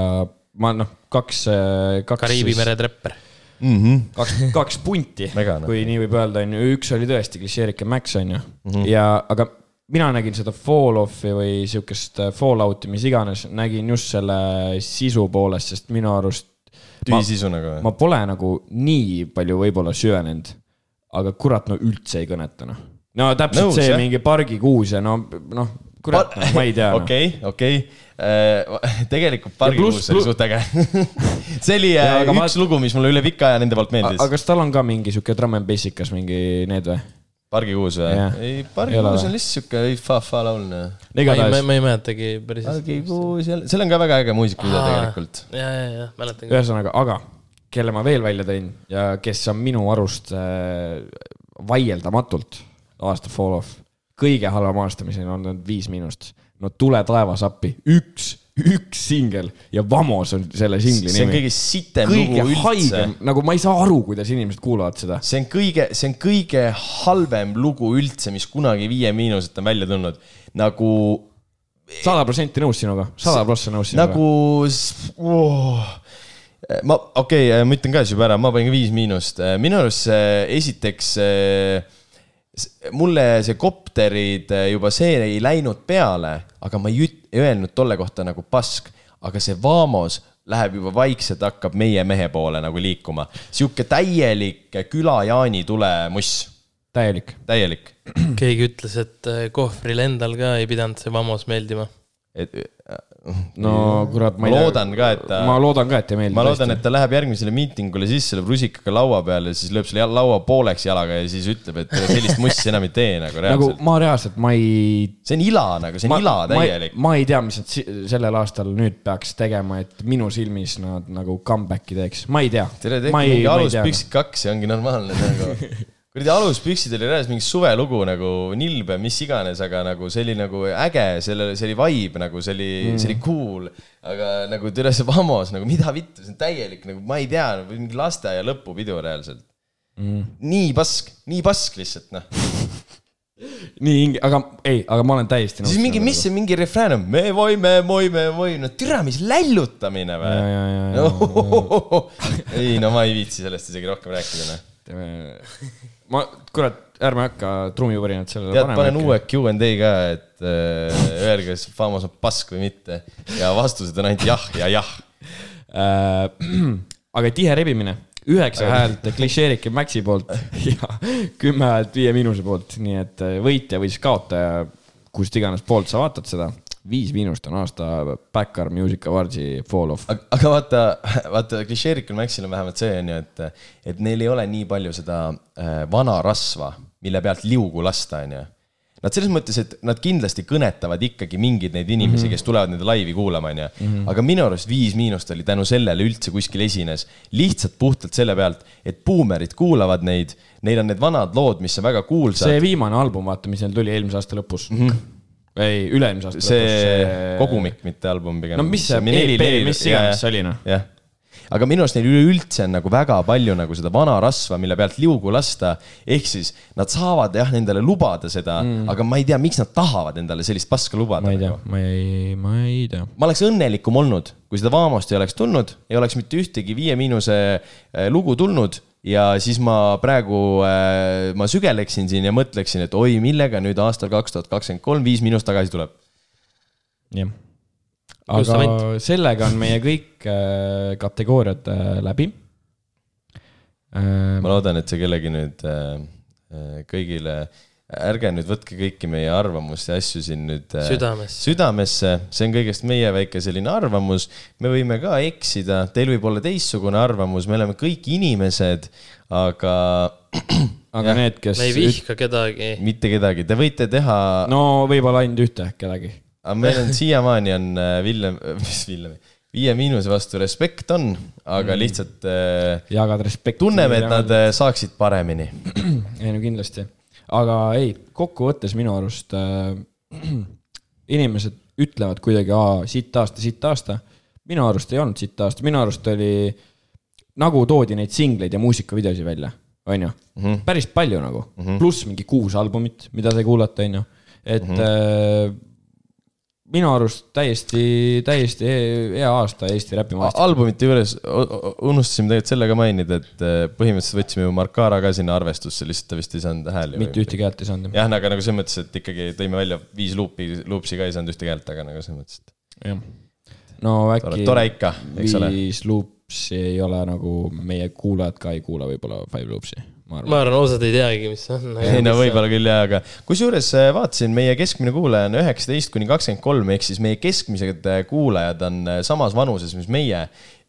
ma noh , kaks , kaks .
Kariibi mere trepper .
kaks , kaks punti ,
Väga noh.
kui nii võib öelda , onju , üks oli tõesti klišeerike Max , onju .
Mhm.
ja , aga mina nägin seda fall off'i või siukest äh, fallout'i , mis iganes , nägin just selle sisu poolest , sest minu arust ma,
tühi sisu nagu või ?
ma pole nagu nii palju võib-olla süvenenud . aga kurat , no üldse ei kõneta , noh . no täpselt
Nõus,
Nõus, see
jah.
jah. mingi pargikuus ja no , noh , kurat , no, ma ei tea noh. okay. .
okei , okei . tegelikult
pluss-
pargikuus oli
plu-
suht äge . see oli äh,
Jaa, aga
üks
ma-
ma... lugu , mis mulle üle pika aja nende poolt
aga
meeldis .
kas tal on ka mingi sihuke tramm and bass'ikas mingi need või ?
pargikuus või
Jah. ?
ei ,
Ei ole
pargikuus
või?
on lihtsalt siuke ei, fa-fa laul .
ma ei ,
igatahes
ma ei mäletagi päris hästi .
pargikuus , seal on ka väga äge muusikavideo tegelikult .
ja , ja , ja mäletan ka .
ühesõnaga , aga kelle ma veel välja tõin ja kes on minu arust äh, vaieldamatult aasta fall off , kõige halvem aastamiseni on olnud viis miinust . no tule taevas appi , üks , üks singel ja Vamos on selle singli
see on
nimi .
kõige sitem
kõige
lugu üldse
haigem , nagu ma ei saa aru , kuidas inimesed kuulavad seda .
see on kõige , see on kõige halvem lugu üldse , mis kunagi Viie Miinuselt on välja tulnud . nagu ,
sada protsenti nõus sinuga , sada protsenti nõus sinuga
nagu oh. . ma , okei okay, , ma ütlen ka siis juba ära , ma panin ka Viis Miinust . minu arust see esiteks , mulle see kopterid eh, juba see ei läinud peale , aga ma ei üt- , ei öelnud tolle kohta nagu pask , aga see Vamos läheb juba vaikselt , hakkab meie mehe poole nagu liikuma . Sihuke täielik eh, küla jaanitule muss ,
täielik .
täielik
keegi ütles , et äh, kohvril endal ka ei pidanud see Vamos meeldima .
et
no kurat ,
ma
ma ei
loodan ka , et ta ,
ma loodan ka , et ei meeldi .
ma loodan , et ta läheb järgmisele miitingule sisse , lööb rusikaga laua peale , siis lööb selle jal- laua pooleks jalaga ja siis ütleb , et sellist mussi enam ei tee nagu
nagu
reaalselt .
ma reaalselt , ma ei
see on ila nagu , see on ila täielik .
ma ei tea , mis nad si- sellel aastal nüüd peaks tegema , et minu silmis nad nagu comeback'i teeks , ma ei tea .
teile tehti mingi aluspüksid kaks ja ongi normaalne nagu . kuradi aluspüksid oli reaalselt mingi suvelugu nagu nilbe , mis iganes , aga nagu see oli nagu äge , sellele , see oli vibe nagu , see oli mm. , see oli cool . aga nagu türa see Vamos nagu mida vittu , see on täielik nagu ma ei tea , mingi lasteaia lõpupidu reaalselt mm. . nii pask , nii pask lihtsalt noh .
nii hinge , aga ei , aga ma olen täiesti nõus .
siis mingi , mis see mingi refrään on , me võime , võime , võime , no türa , mis lällutamine või ? ei no ma ei viitsi sellest isegi rohkem rääkida noh .
ma , kurat , ärme hakka trumivurinat sellele
tead ,
panema .
panen uue . Q and A ka , et äh, öelge , kas Famos on pask või mitte ja vastused on ainult jah ja jah .
Äh, aga tihe rebimine ,
Äh.
üheksa häält klišeerike Maxi poolt ja kümme häält Viie Miinuse poolt , nii et äh, võitja või siis kaotaja , kust iganes poolt sa vaatad seda , Viis Miinust on aasta Backar Music Awardsi fall off .
aga vaata , vaata klišeerikul Maxil on vähemalt see on ju , et , et neil ei ole nii palju seda äh, vana rasva , mille pealt liugu lasta , on ju . Nad selles mõttes , et nad kindlasti kõnetavad ikkagi mingeid neid inimesi mm , -hmm. kes tulevad nende laivi kuulama , onju . aga minu arust Viis Miinust oli tänu sellele üldse kuskil esines . lihtsalt puhtalt selle pealt , et buumerid kuulavad neid , neil on need vanad lood , mis on väga kuulsad
see . viimane album , vaata , mis neil tuli eelmise aasta lõpus mm . -hmm. ei , üle-eelmise aasta
see
lõpus .
kogumik , mitte album pigem .
No mis see EP, mis iganes see oli, noh.
jah , aga minu arust neil üleüldse on nagu väga palju nagu seda vana rasva , mille pealt liugu lasta . ehk siis nad saavad jah , endale lubada seda mm. , aga ma ei tea , miks nad tahavad endale sellist paska lubada .
ma ei tea , ma ei , ma ei tea .
ma oleks õnnelikum olnud , kui seda Vaamost ei oleks tulnud , ei oleks mitte ühtegi Viie Miinuse eh, lugu tulnud ja siis ma praegu , ma sügeleksin siin ja mõtleksin , et oi , millega nüüd aastal kaks tuhat kakskümmend kolm Viis Miinust tagasi tuleb .
jah .
Kus sa
aga sellega on meie kõik äh, kategooriad äh, läbi äh, .
ma loodan , et see kellegi nüüd äh, äh, kõigile , ärge nüüd võtke kõiki meie arvamusi ja asju siin nüüd äh,
Südamesse.
südamesse , see on kõigest meie väike selline arvamus . me võime ka eksida , teil võib olla teistsugune arvamus , me oleme kõik inimesed , aga
aga ja. need , kes
me ei . vihka kedagi .
mitte kedagi , te võite teha no. ,
no võib-olla ainult ühte kedagi .
aga meil on siiamaani on äh, Villem , mis Villemi , Viie Miinuse vastu respekt on , aga lihtsalt äh,
jagad respekti .
tunneme , et nad äh, saaksid paremini .
ei no kindlasti , aga ei , kokkuvõttes minu arust äh, inimesed ütlevad kuidagi , aa , siit aasta , siit aasta . minu arust ei olnud siit aasta , minu arust oli , nagu toodi neid singleid ja muusikavideosid välja , onju . päris palju nagu mm -hmm. , pluss mingi kuus albumit , mida sai kuulata , onju . et mm -hmm. äh, minu arust täiesti , täiesti he- hea aasta Eesti räpimaastikul .
albumite juures o- o- unustasime tegelikult selle ka mainida , et äh, põhimõtteliselt võtsime ju Markara ka sinna arvestusse , lihtsalt ta vist ei saanud hääli .
mitte ühtegi häält ei saanud .
jah , aga nagu selles mõttes , et ikkagi tõime välja viis luupi , luupsi ka ei saanud ühtegi häält , aga nagu selles mõttes , et
jah . no
tore,
äkki .
tore ikka , eks ole .
viis luupsi ei ole nagu meie kuulajad ka ei kuula võib-olla Five Loopsi , ma arvan .
ma arvan , osad ei teagi , mis see on .
ei no võib-olla küll jaa , aga kusjuures äh, vaatasin , meie keskmine kuulaja on üheksateist kuni kakskümmend kolm , ehk siis meie keskmised äh, kuulajad on äh, samas vanuses , mis meie .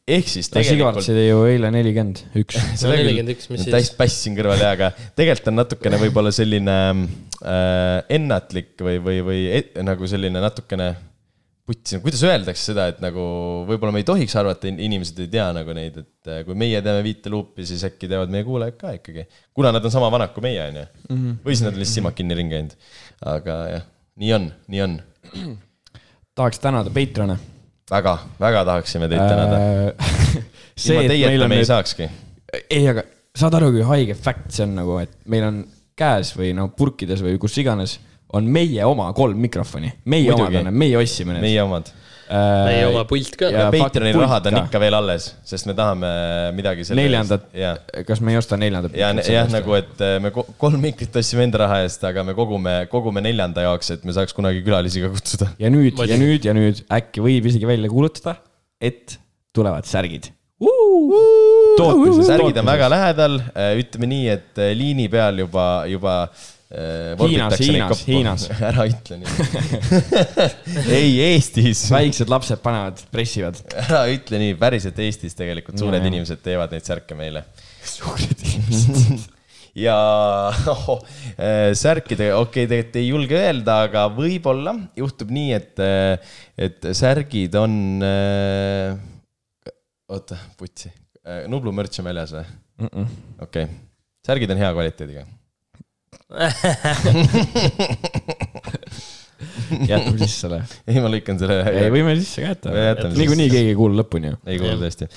ehk siis tegelikult
Sigartsid ju eile nelikümmend üks .
selle küll
41, , mis siis?
täis pass siin kõrval ja , aga tegelikult on natukene võib-olla selline äh, ennatlik või , või , või et, nagu selline natukene putsi , kuidas öeldakse seda , et nagu võib-olla me ei tohiks arvata , inimesed ei tea nagu neid , et äh, kui meie teeme viite luupi , siis äkki teavad meie kuulajad ka ikkagi . kuna nad on sama vanad kui meie , onju .
Mhm.
või siis nad on lihtsalt silmad kinni ringi käinud . aga jah , nii on , nii on .
tahaks tänada Patreon'e .
väga , väga tahaksime teid tänada .
Äh, see ,
ilma
et meil
teieta
on
me ei
nüüd ,
saakski .
ei , aga saad aru , kui haige fact see on nagu , et meil on käes või no purkides või kus iganes on meie oma kolm mikrofoni , meie
Muidugi.
omad on , meie Äh, ostsime need .
meie omad
meie oma pult ka .
Ja
Patreoni
fuck,
rahad on
pulka.
ikka veel alles , sest me tahame midagi .
neljandat
ja ,
kas me ei osta neljandat ?
ja , jah , nagu , et me ko- kolm mikrit ostsime enda raha eest , aga me kogume , kogume neljanda jaoks , et me saaks kunagi külalisi ka kutsuda .
ja nüüd
Ma-
ja nüüd ja nüüd äkki võib isegi välja kuulutada , et tulevad särgid . tootmises ,
särgid on väga lähedal , ütleme nii , et äh, liini peal juba , juba . äh,
Hiinas, Hiinas, Hiinas.
ära ütle nii . ei , Eestis .
väiksed lapsed panevad , pressivad .
ära ütle nii , päriselt Eestis tegelikult suured
Jajah.
inimesed teevad neid särke meile
suured inimesed .
ja oh, särkide , okei okay, , tegelikult ei julge öelda , aga võib-olla juhtub nii , et , et särgid on . oota , putsi , Nublu mürts on väljas või ? okei , särgid on hea kvaliteediga .
jätame sisse selle .
ei , ma lõikan selle
ei ,
ühe .
võime sisse ka
Me
jätta
jätame .
niikuinii keegi ei kuule lõpuni ju .
ei kuule tõesti .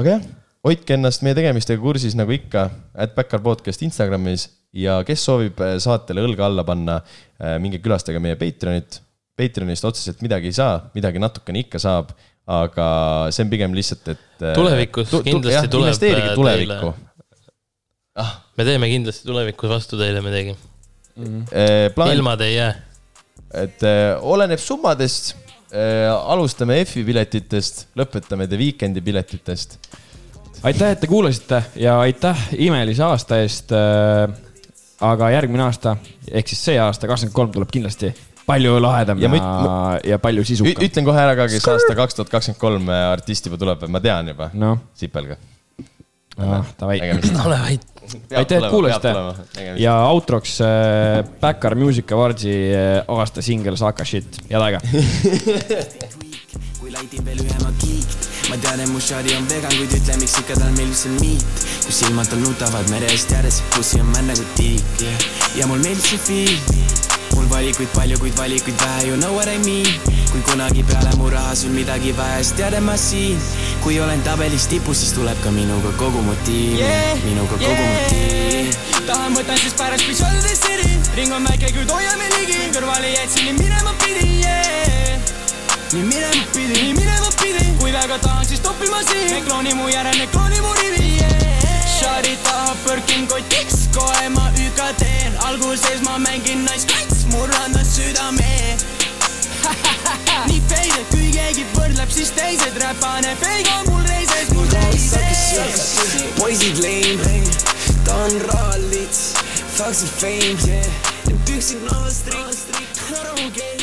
aga jah , hoidke ennast meie tegemistega kursis nagu ikka , at Backyard podcast Instagramis ja kes soovib eh, saatele õlga alla panna , minge külastage meie Patreonit . Patreonist otseselt midagi ei saa , midagi natukene ikka saab , aga see on pigem lihtsalt , et . äh,
Tulevikus kindlasti tuleb,
investeerige
eh,
tulevikku .
me teeme kindlasti tulevikus vastu teile midagi .
Äh, plaan ,
Mhm. ilma te ei jää .
et eh, oleneb summadest , alustame F-i piletitest , lõpetame The Weekend'i piletitest .
aitäh , et te kuulasite ja aitäh imelise aasta eest . aga järgmine aasta ehk siis see aasta , kakskümmend kolm tuleb kindlasti palju lahedam
Ja
ja,
ma üt-
ja, ja palju
Ü-
sisukam .
ütlen äh, kohe ära ka , kes aasta kaks tuhat kakskümmend kolm artist juba tuleb , ma tean juba
noh
sipelga .
Davai ,
nägemist .
ole vait .
aitäh , et kuulasite
ja .
ja outroks äh, Backar Music Awardsi äh, aasta singel Saka Shit , head aega .
kui laidin veel ühe magiit . ma tean , et mu šari on vegan , kuid ütle , miks ikka tal meeldib see miit . kui silmad tal nutavad mere eest järjest , pussi on märg nagu tiik yeah. . ja mul meeldib see feel . mul valikuid palju , kuid valikuid vähe , you know what I mean . kui kunagi peale mu raha sul midagi vähe , siis tead , et ma siin . kui olen tabelis tipus , siis tuleb ka minuga kogu mu tiim yeah. , minuga kogu yeah. mu tiim .
tahan , võtan siis pärast , kui soldes siri , ring on väike , kuid hoiame ligi , kõrvale jätsin ja minema pidi yeah. .
nii minema pidi .
nii minema pidi , kui väga tahan , siis toppima siin , nekrooni mu järel , nekrooni mu rivi yeah. . Shari tahab pörkin kotiks , kohe ma üka teen , alguses ma mängin naiskats , murran ta südame nii fade , et kui keegi võrdleb , siis teised räpane , fake on mul reises , mul reises .
poisid lame , ta on rallits , fuck see fame , yeah . Need püksid noastrid , ära mu keele .